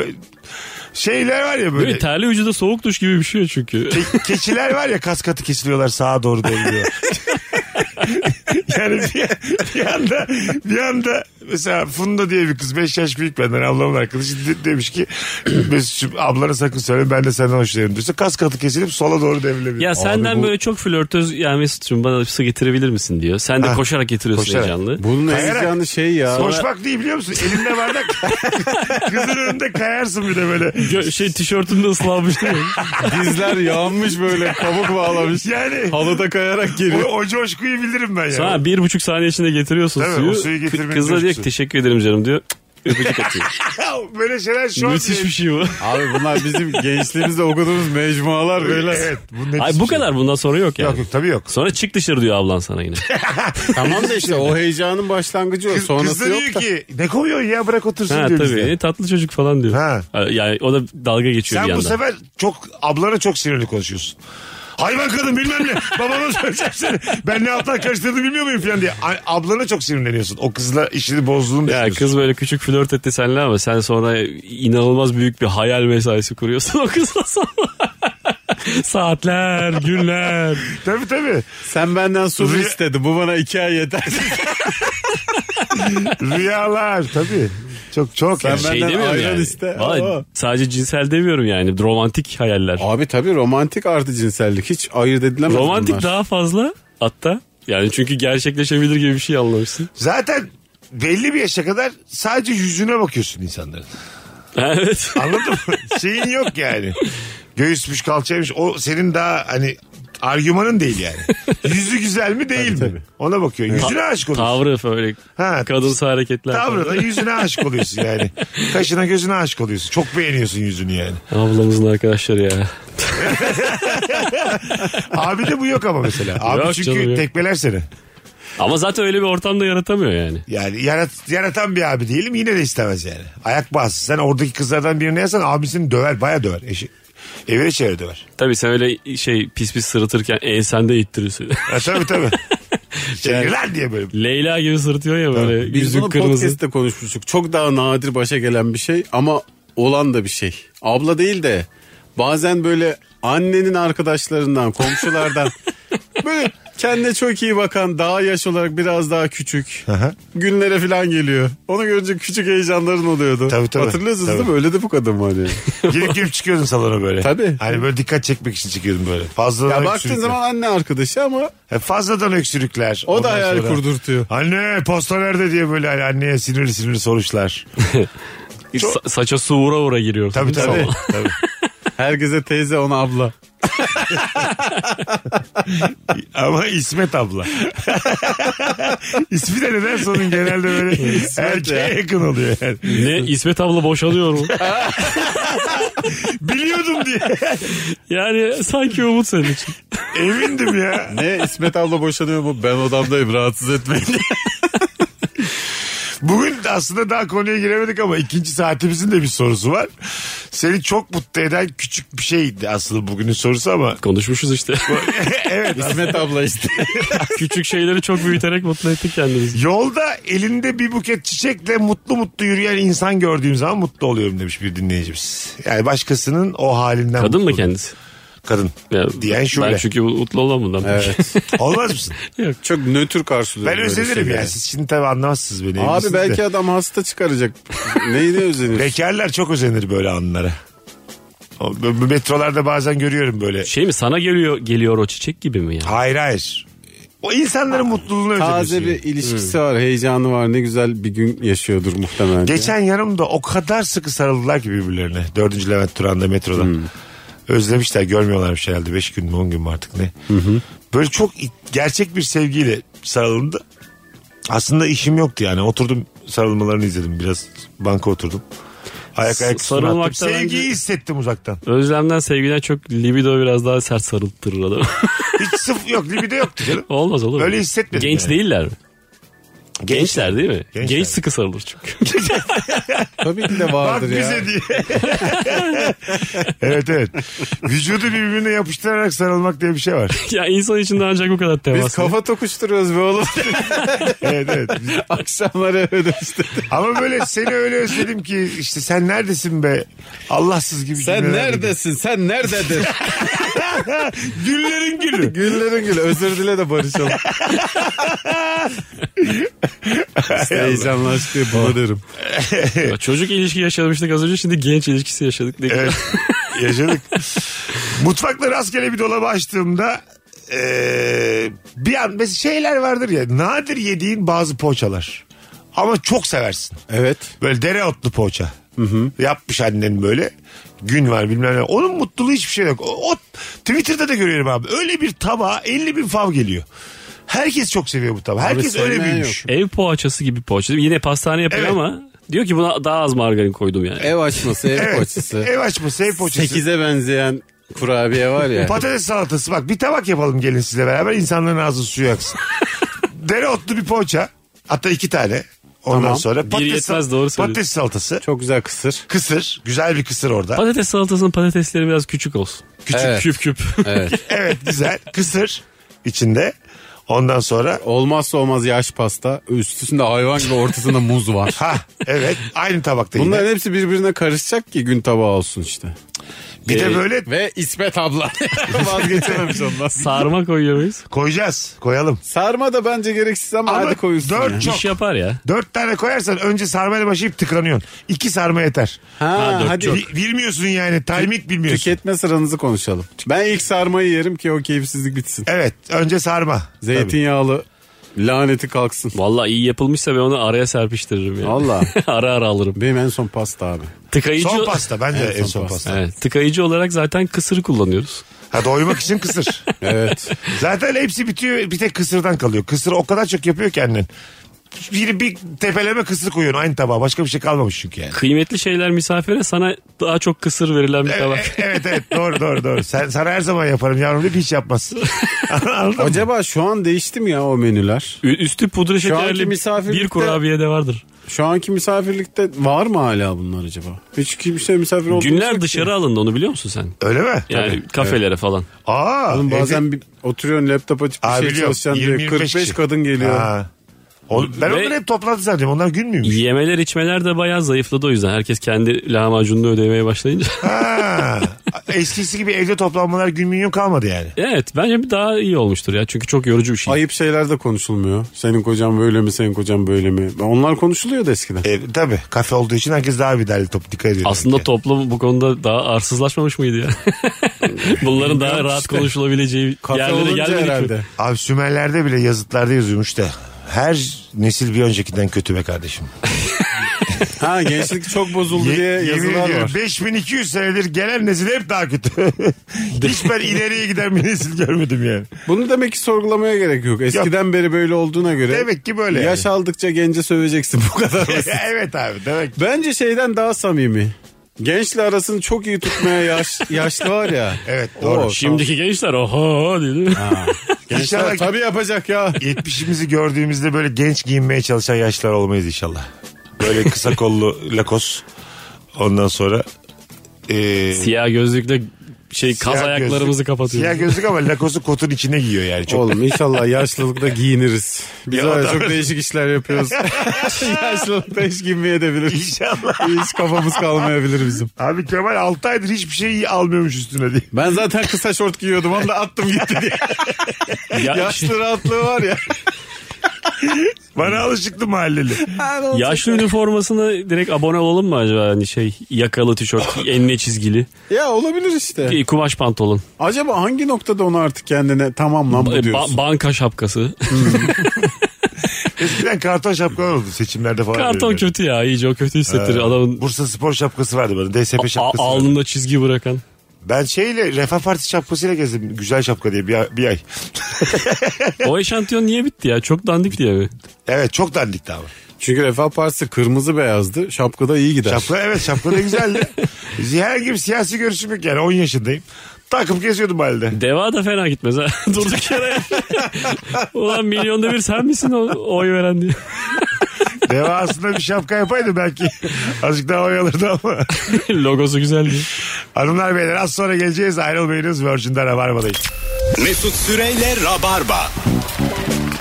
S3: şeyler var ya
S4: Değil
S3: böyle.
S4: mi? Terli vücuda soğuk duş gibi bir şey çünkü.
S3: Ke- keçiler var ya kas katı kesiliyorlar sağa doğru dönüyor. yani bir, bir anda bir anda mesela Funda diye bir kız 5 yaş büyük benden ablamın arkadaşı de- demiş ki Mesut'cum ablana sakın söyle ben de senden hoşlanıyorum diyorsa kas katı kesilip sola doğru devrilebilir.
S4: [LAUGHS] Ya senden böyle çok flörtöz ya Mesut'cum bana su getirebilir misin diyor. Sen de
S3: Ha.
S4: koşarak getiriyorsun
S3: Koşarak.
S4: heyecanlı.
S5: Bunun en
S3: Kayarak.
S5: heyecanı şey ya.
S3: Koşmak değil biliyor musun? Elinde
S4: [LAUGHS]
S3: bardak. Kızın önünde kayarsın bir de böyle.
S4: Gö- şey tişörtünde ıslanmış değil mi?
S5: [LAUGHS] Dizler yağmış böyle kabuk bağlamış.
S3: Yani
S5: Halıda kayarak
S3: o,
S5: geliyor.
S3: o coşkuyu bilirim ben ya.
S4: Sonra bir buçuk saniye içinde getiriyorsun
S3: Tabii,
S4: suyu.
S3: o suyu getirmenin
S4: Kı- Kız da diyor ki
S3: coşkusu.
S4: teşekkür ederim canım diyor. Öpücük atıyor.
S3: Ya [LAUGHS] böyle şeyler şu an.
S4: Müthiş bir şey bu.
S5: Abi bunlar bizim gençliğimizde okuduğumuz mecmualar böyle.
S3: Evet. Bunun
S4: şey. Ay
S3: hepsi
S4: bu
S3: bir şey.
S4: kadar bundan sonra yok yani.
S3: Yok yok tabii yok.
S4: Sonra çık dışarı diyor ablan sana yine.
S5: Tamam da işte o heyecanın başlangıcı o.
S3: Kız, kız
S5: Sonrası
S3: da
S5: yok
S3: diyor
S5: da.
S3: ki ne koyuyorsun ya bırak otursun
S4: ha
S3: diyor
S4: tabii
S3: bize.
S4: "E, tatlı çocuk falan diyor.
S3: Ha.
S4: Yani o da dalga geçiyor
S3: Sen
S4: bir
S3: bu
S4: yandan.
S3: sefer çok ablana çok sinirli konuşuyorsun. Hayvan kadın bilmem ne. [LAUGHS] Babama söyleyeceğim seni. Ben ne alttan karıştırdım bilmiyor muyum falan diye. A- ablana çok sinirleniyorsun. O kızla işini bozduğunu
S4: Ya
S3: düşünüyorsun.
S4: kız böyle küçük flört etti seninle ama sen sonra inanılmaz büyük bir hayal mesaisi kuruyorsun o kızla sonra. [LAUGHS] Saatler, günler.
S3: Tabii tabii.
S5: Sen benden su
S3: Rüya-
S5: istedi. Bu bana iki ay yeter.
S3: Rüyalar tabii. Çok çok.
S5: Sen
S3: yani.
S5: ben-
S4: şey
S5: Benden
S4: demiyorum
S5: ayran
S4: yani.
S5: iste.
S4: Vallahi
S5: Aa.
S4: sadece cinsel demiyorum yani. Romantik hayaller.
S5: Abi tabii romantik artı cinsellik. Hiç ayırt edilemez
S4: Romantik
S5: bunlar.
S4: daha fazla hatta. Yani çünkü gerçekleşebilir gibi bir şey anlamışsın. [LAUGHS]
S3: Zaten belli bir yaşa kadar sadece yüzüne bakıyorsun insanların.
S4: Evet.
S3: Anladın mı? Şeyin yok yani. Göğüsmüş kalçaymış. O senin daha hani argümanın değil yani. Yüzü güzel mi değil mi? Ona bakıyorsun. Yüzüne aşık oluyorsun.
S4: Tavrı böyle
S3: Ha.
S4: kadınsı hareketler.
S3: Tavrına
S4: falan.
S3: yüzüne aşık oluyorsun yani. Kaşına gözüne aşık oluyorsun. Çok beğeniyorsun yüzünü yani.
S4: Ablamızın arkadaşları ya.
S3: Abi de bu yok ama mesela. Abi
S4: Yok canım,
S3: çünkü
S4: yok.
S3: tekmeler seni.
S4: Ama zaten öyle bir ortamda yaratamıyor yani.
S3: Yani yarat, yaratan bir abi değilim yine de istemez yani. Ayak bağısı. Sen oradaki kızlardan birini yasan abisini döver baya döver. Eşi, evine çevire döver.
S4: Tabii sen öyle şey pis pis sırıtırken "Ee, ensende ittirirsin.
S3: Ha, tabii tabii. Şey, lan diye böyle.
S4: [LAUGHS] Leyla gibi sırıtıyor ya böyle
S5: Biz bunu
S4: yüzük kırmızı.
S5: podcast'te konuşmuştuk. Çok daha nadir başa gelen bir şey ama olan da bir şey. Abla değil de bazen böyle annenin
S3: [LAUGHS]
S5: arkadaşlarından, komşulardan böyle kendine çok iyi bakan daha yaş olarak biraz daha küçük günlere falan geliyor. Onu görünce küçük heyecanların oluyordu.
S3: Tabii, tabii.
S5: Hatırlıyorsunuz
S3: Tabii.
S5: değil mi? Öyle de bu kadın var
S3: [LAUGHS]
S5: yani.
S3: Girip girip çıkıyordun salona böyle.
S5: Tabii.
S3: Hani böyle dikkat çekmek için çıkıyordun böyle. Fazladan
S5: ya
S3: öksürükler.
S5: baktığın zaman anne arkadaşı ama
S3: Ha, Fazladan öksürükler.
S5: o da
S3: Ondan
S5: hayal
S3: sonra-
S5: kurdurtuyor.
S3: Anne posta nerede diye böyle hani anneye sinirli sinirli soruşlar.
S4: Sa- saça su vura vura giriyor.
S3: Tabii tabii. tabii.
S5: Herkese teyze ona abla.
S3: [LAUGHS] Ama İsmet abla. [LAUGHS] İsmi de neden sonun genelde
S5: [LAUGHS]
S3: böyle erkeğe yakın oluyor yani.
S4: Ne İsmet abla boşanıyor
S3: [LAUGHS]
S4: mu?
S3: Biliyordum diye. [LAUGHS]
S4: yani sanki umut senin için.
S3: Emindim ya.
S5: Ne İsmet abla boşanıyor mu? Ben odamdayım rahatsız etmeyin.
S3: Bugün aslında daha konuya giremedik ama ikinci saatimizin de bir sorusu var. Seni çok mutlu eden küçük bir şeydi aslında bugünün sorusu ama. [LAUGHS]
S4: Konuşmuşuz işte.
S3: evet.
S5: İsmet abla işte.
S4: Küçük şeyleri çok büyüterek mutlu ettik kendimizi.
S3: Yolda elinde bir buket çiçekle mutlu mutlu yürüyen insan gördüğüm zaman mutlu oluyorum demiş bir dinleyicimiz. Yani başkasının o halinden
S4: Kadın mı
S3: mutlu oluyor.
S4: kendisi?
S3: Kadın.
S4: Ya,
S3: Diyen
S4: Ben
S3: şöyle.
S4: çünkü mutlu olamam bundan.
S5: Evet.
S3: [LAUGHS] Olmaz
S4: [LAUGHS]
S3: mısın?
S5: Çok nötr karşılıyorum.
S3: Ben
S5: böyle
S4: şey
S3: özenirim
S5: şeyleri.
S3: yani. Siz şimdi tabii anlamazsınız beni.
S5: Abi
S3: Evlisiniz de.
S5: belki adam hasta çıkaracak. Neyine özenir?
S3: Bekarlar çok özenir böyle anlara. O- b- b- Metrolarda bazen görüyorum böyle.
S4: Şey mi sana geliyor geliyor o çiçek gibi mi ya?
S3: Hayır hayır. O insanların mutluluğunu özeniyorsun.
S5: Taze bir ilişkisi var, heyecanı var. Ne güzel bir gün yaşıyordur muhtemelen.
S3: Geçen yanımda o kadar sıkı sarıldılar ki birbirlerine. Dördüncü Levent Turan'da metroda.
S5: Hmm.
S3: Özlemişler görmüyorlarmış herhalde. Beş gün mü on gün mü artık ne. Böyle çok i- gerçek bir sevgiyle sarılındı. Aslında işim yoktu yani. Oturdum sarılmalarını izledim biraz. Banka oturdum. Ayak ayak üstüne attım.
S4: sarılmakta
S3: Sevgiyi
S4: bence-
S3: hissettim uzaktan.
S4: Özlemden sevgiden çok libido biraz daha sert sarıltırır adamı.
S3: Hiç sıfır yok libido yoktu canım.
S4: [LAUGHS]
S5: [LAUGHS]
S4: Olmaz olur mu?
S3: Öyle hissetmedim
S4: Genç
S3: yani.
S4: değiller mi? Gençler değil mi?
S3: Gençler.
S4: Genç sıkı sarılır çünkü.
S5: Tabii ki de
S3: Bak
S5: vardır ya. [LAUGHS]
S3: bize diye. [LAUGHS] evet evet. Vücudu birbirine yapıştırarak sarılmak diye bir şey var.
S4: [LAUGHS] ya insan içinde ancak bu kadar temas.
S5: Biz kafa tokuşturuyoruz be oğlum. [LAUGHS]
S3: Evet evet.
S5: Akşamları öyle işte.
S3: Ama böyle seni öyle özledim ki işte sen neredesin be? Allahsız gibi.
S5: Sen
S3: cümleler
S5: neredesin? Sen [LAUGHS] nerededir?
S3: dedim. Güllerin gülü.
S5: Güllerin gülü. Özür dile de barışalım. işte heyecanlaştı bulanırım.
S4: [LAUGHS] Ya Çocuk ilişki yaşamıştık az önce şimdi genç ilişkisi yaşadık. Ne güzel.
S3: Evet. Yaşadık. Mutfakta rastgele bir dolabı açtığımda eee, bir an mesela şeyler vardır ya nadir yediğin bazı poğaçalar. Ama çok seversin.
S5: Evet.
S3: Böyle dereotlu poğaça. Yapmış annen böyle. Gün var bilmem ne. Onun mutluluğu hiçbir şey yok. O, o- Twitter'da da görüyorum abi. Öyle bir tabağa 50 bin fav geliyor. Herkes çok seviyor bu tabağı. Herkes öyle
S5: sevmeyen
S3: büyümüş.
S4: Ev poğaçası gibi poğaça. değil mi? Yine pastane yapıyor
S3: Evet.
S4: ama diyor ki buna daha az margarin koydum yani.
S5: Ev açması, ev
S3: Evet.
S5: koçası.
S3: Ev açması, ev poğaçası.
S5: Sekize benzeyen kurabiye var ya.
S3: Patates salatası bak bir tabak yapalım gelin sizle beraber insanların ağzı suyu
S4: [LAUGHS]
S3: aksın. Dereotlu bir poğaça hatta iki tane ondan
S5: Tamam.
S3: sonra
S4: Bir
S3: patates,
S4: yetmez, doğru söylüyorsun.
S3: patates salatası
S5: Çok güzel kısır.
S3: kısır güzel bir kısır orada.
S4: Patates salatasının patatesleri biraz küçük olsun. Küçük
S5: Evet.
S4: küp küp.
S3: [LAUGHS] evet güzel kısır içinde ondan sonra
S5: Olmazsa olmaz yaş pasta. Üstüsünde hayvan gibi ortasında
S3: [LAUGHS]
S5: muz var.
S3: ha evet aynı tabakta yine.
S5: Bunların hepsi birbirine karışacak ki gün tabağı olsun işte.
S3: Bir
S4: Ee,
S3: de böyle
S5: Ve İsmet abla. Vazgeçememiş
S4: [LAUGHS]
S5: ondan.
S4: Sarma koyuyor muyuz?
S3: koyacağız koyalım.
S5: Sarma da bence gereksiz ama,
S3: Ama
S5: hadi koyulsun.
S3: dört
S5: ya.
S3: çok-
S4: İş yapar ya.
S3: Dört tane koyarsan önce sarmayla başlayıp tıkanıyorsun. İki sarma yeter.
S5: Ha,
S4: dört
S5: hadi
S4: çok.
S3: Bi- bilmiyorsun yani timing bilmiyorsun.
S5: tüketme sıranızı konuşalım. Ben ilk sarmayı yerim ki o keyifsizlik bitsin.
S3: Evet önce sarma.
S5: Zeytinyağlı laneti kalksın.
S4: Vallahi iyi yapılmışsa ben onu araya serpiştiririm yani.
S5: Valla.
S4: [LAUGHS] ara ara alırım.
S5: Benim en son pasta abi.
S4: Tıkayıcı
S3: Son pasta bence
S5: Evet,
S3: en
S5: son
S3: son
S5: pasta.
S3: pasta.
S4: [LAUGHS] Evet, tıkayıcı olarak zaten kısırı kullanıyoruz.
S3: Ha doymak için
S5: [LAUGHS]
S3: kısır.
S5: Evet.
S3: Zaten hepsi bitiyor bir tek kısırdan kalıyor. Kısır o kadar çok yapıyor ki annen. Bir, bir tepeleme kısır koyuyorsun aynı tabağa. Başka bir şey kalmamış çünkü yani.
S4: Kıymetli şeyler misafire sana daha çok kısır verilen bir
S3: Evet, e,
S4: tabak.
S3: evet evet doğru doğru doğru. Sen, sana her zaman yaparım yavrum deyip hiç yapmazsın. Anladın mı?
S5: Acaba şu an değişti mi ya o menüler?
S4: Ü- Üstü pudra
S5: anki
S4: şekerli
S5: misafirlikte-
S4: bir kurabiye de vardır.
S5: Şu anki misafirlikte var mı hala bunlar acaba? Hiç kimse misafir oldu.
S4: Günler dışarı alındı onu biliyor musun sen?
S3: Öyle mi?
S4: Yani kafelere falan.
S3: Aa.
S5: Oğlum
S3: evde-
S5: bazen bir oturuyorsun laptop açıp bir
S3: Aa,
S5: şey
S3: biliyorum.
S5: çalışacaksın diye
S3: 20-25
S5: 45
S3: kişi.
S5: kadın geliyor.
S3: Ha. O- ben
S4: Ve-
S3: onları hep toplantı zannediyorum. Onlar gün müymüş?
S4: Yemeler içmeler de bayağı zayıfladı o yüzden. Herkes kendi lahmacununu ödemeye
S5: [LAUGHS]
S4: başlayınca.
S3: Ha. Eskisi gibi evde toplanmalar gün müyüm kalmadı yani.
S4: evet bence bir daha iyi olmuştur ya. Çünkü çok yorucu bir şey.
S5: Ayıp şeyler de konuşulmuyor. Senin kocan böyle mi, senin kocan böyle mi? Onlar konuşuluyordu eskiden.
S3: E, tabii kafe olduğu için herkes daha bir derli top dikkat ediyor.
S4: Aslında
S3: Yani.
S4: toplum bu konuda daha arsızlaşmamış mıydı
S5: [LAUGHS]
S4: ya? Bunların daha
S5: Bilmiyorum
S4: rahat
S5: işte.
S4: konuşulabileceği
S5: Kafe
S4: yerlere
S5: olunca
S4: gelmedik
S5: herhalde.
S4: mi?
S3: Abi Sümerler'de bile yazıtlarda yazıyormuş da. Her nesil bir öncekinden kötü be kardeşim.
S5: Ha gençlik çok bozuldu
S3: Ye-
S5: diye
S3: yemin
S5: yazılar
S3: ediyorum
S5: var.
S3: 5200 senedir gelen nesil hep daha
S5: [LAUGHS]
S3: kötü. Hiç ben ileriye giden bir nesil görmedim yani.
S5: Bunu demek ki sorgulamaya gerek yok. Eskiden beri böyle olduğuna göre.
S3: Demek ki böyle
S5: Yaş aldıkça gence söveceksin bu kadar basit.
S3: [LAUGHS] evet abi demek ki.
S5: Bence şeyden daha samimi. Gençle arasını çok iyi tutmaya yaş, yaşlı var ya.
S3: Evet, doğru.
S4: Şimdiki gençler oho dedi.
S5: Gençler
S3: İnşallah-
S5: tabii yapacak ya.
S3: 70'imizi gördüğümüzde böyle genç giyinmeye çalışan yaşlar olmayız inşallah. Böyle kısa kollu lakos. Ondan sonra e,
S4: Siyah gözlükle şey kaz
S3: siyah
S4: ayaklarımızı
S3: gözlük-
S4: kapatıyor.
S3: Siyah gözlük ama lakosu kotun içine giyiyor yani. Çok
S5: Oğlum inşallah yaşlılıkta giyiniriz. Biz
S3: Ya
S5: var ya
S3: adam-
S5: çok değişik işler yapıyoruz. yaşlılıkta hiç giyinmeyebiliriz.
S3: İnşallah.
S5: Hiç kafamız kalmayabilir bizim.
S3: Abi Kemal 6 aydır hiçbir şey almıyormuş üstüne diye.
S5: Ben zaten kısa şort giyiyordum onu da attım gitti diye.
S4: Ya-
S5: [LAUGHS] Yaşlı rahatlığı var ya.
S3: Bana alışıktı mahalleli.
S4: yaşlı üniformasına direkt abone olalım mı acaba? Hani şey yakalı tişört,
S5: [LAUGHS]
S4: enine çizgili,
S5: Ya olabilir işte.
S4: bir kumaş pantolon,
S5: Acaba hangi noktada onu artık kendine tamam lan bu
S4: E, ba-
S5: diyorsun?
S4: banka şapkası.
S3: Eskiden karton şapkalar oldu seçimlerde falan.
S4: [LAUGHS] Karton
S3: verirler.
S4: kötü ya iyice o kötü hissettirir adamın
S3: Bursa spor şapkası vardı bana. DSP
S4: a-
S3: şapkası vardı.
S4: alnında çizgi bırakan.
S3: Ben şeyle Refah Partisi şapkasıyla gezdim. Güzel şapka diye bir, ay- bir ay.
S4: O eşantiyon niye bitti ya? Çok dandik diye mi?
S3: Evet çok dandikti ama.
S5: Çünkü Refah Partisi kırmızı beyazdı. Şapkada iyi gider.
S3: [LAUGHS] Şapka evet şapka da güzeldi. Her gibi siyasi görüşüm yok yani 10 yaşındayım. Takıp geziyordum halde.
S4: Deva da fena gitmez ha. [LAUGHS] Durduk yere. Ulan milyonda bir sen misin o, oy veren diye. [LAUGHS]
S3: Deva aslında bir şapka yapaydı belki. [LAUGHS] Azıcık daha oyalırdı ama. [LAUGHS]
S4: Logosu güzel diye.
S3: Hanımlar beyler az sonra geleceğiz. Ayrılmayınız Virgin'de Rabarba'dayız.
S2: Mesut Süreyle Rabarba.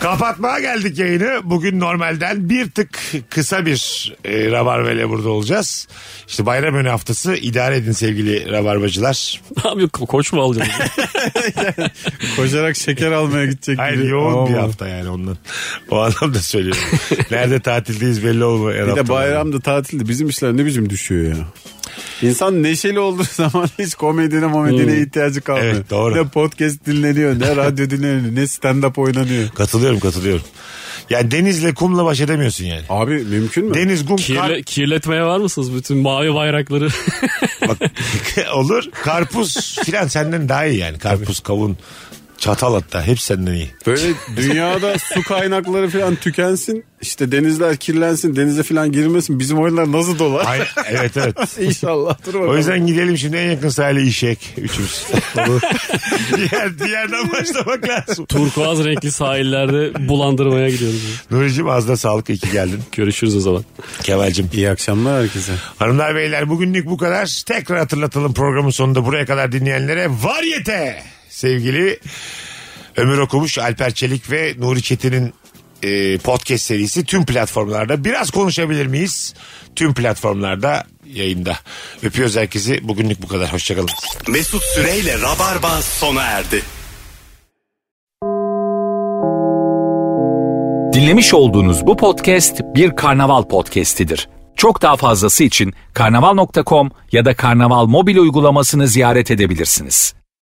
S3: Kapatmaya geldik yayını. Bugün normalden bir tık kısa bir e, Rabarba'yla burada olacağız. İşte bayram önü haftası idare edin sevgili Rabarbacılar.
S4: Abi ko- koç mu
S5: [LAUGHS]
S4: alacağız?
S5: Koşarak şeker almaya gidecek
S3: Hayır
S5: gibi.
S3: yoğun
S5: Ama
S3: bir hafta yani ondan. O anlamda söylüyorum. Nerede tatildeyiz belli olmuyor. her
S5: Bir de
S3: hafta.
S5: bayramda tatilde bizim işler ne biçim düşüyor ya. İnsan neşeli olduğu [LAUGHS] zaman hiç komedine momedine ihtiyacı kalmıyor.
S3: Evet, doğru.
S5: Ne podcast dinleniyor ne radyo dinleniyor ne stand-up oynanıyor.
S3: Katılıyorum katılıyorum. Ya denizle kumla baş edemiyorsun yani.
S5: Abi mümkün mü?
S3: Deniz, kum, kar...
S4: Kirle, kirletmeye var mısınız bütün mavi bayrakları?
S3: [LAUGHS]
S4: [LAUGHS]
S3: Bak, [LAUGHS] olur. Karpuz filan senden daha iyi yani. Karpuz, kavun, çatal hatta hepsi senden iyi.
S5: Böyle
S3: [LAUGHS]
S5: dünyada su kaynakları falan tükensin. işte denizler kirlensin denize falan girmesin. Bizim oyunlar nasıl dolar?
S3: Ay, evet evet.
S5: [LAUGHS] İnşallah. Dur bakalım.
S3: O yüzden gidelim şimdi en yakın sahile işek. Üçümüz. [LAUGHS] diğer, diğerden başlamak lazım.
S4: Turkuaz renkli sahillerde bulandırmaya gidiyoruz.
S3: Nuri'cim ağzına sağlık. iyi ki geldin.
S4: Görüşürüz o zaman.
S3: Kemal'cim.
S5: İyi akşamlar herkese.
S3: Hanımlar beyler bugünlük bu kadar. Tekrar hatırlatalım programın sonunda buraya kadar dinleyenlere. Varyete sevgili Ömür Okumuş, Alper Çelik ve Nuri Çetin'in e, podcast serisi tüm platformlarda. Biraz konuşabilir miyiz? Tüm platformlarda yayında. Öpüyoruz herkesi. Bugünlük bu kadar. Hoşçakalın.
S2: Mesut Süreyle Rabarba sona erdi.
S1: Dinlemiş olduğunuz bu podcast bir karnaval podcastidir. Çok daha fazlası için karnaval.com ya da karnaval mobil uygulamasını ziyaret edebilirsiniz.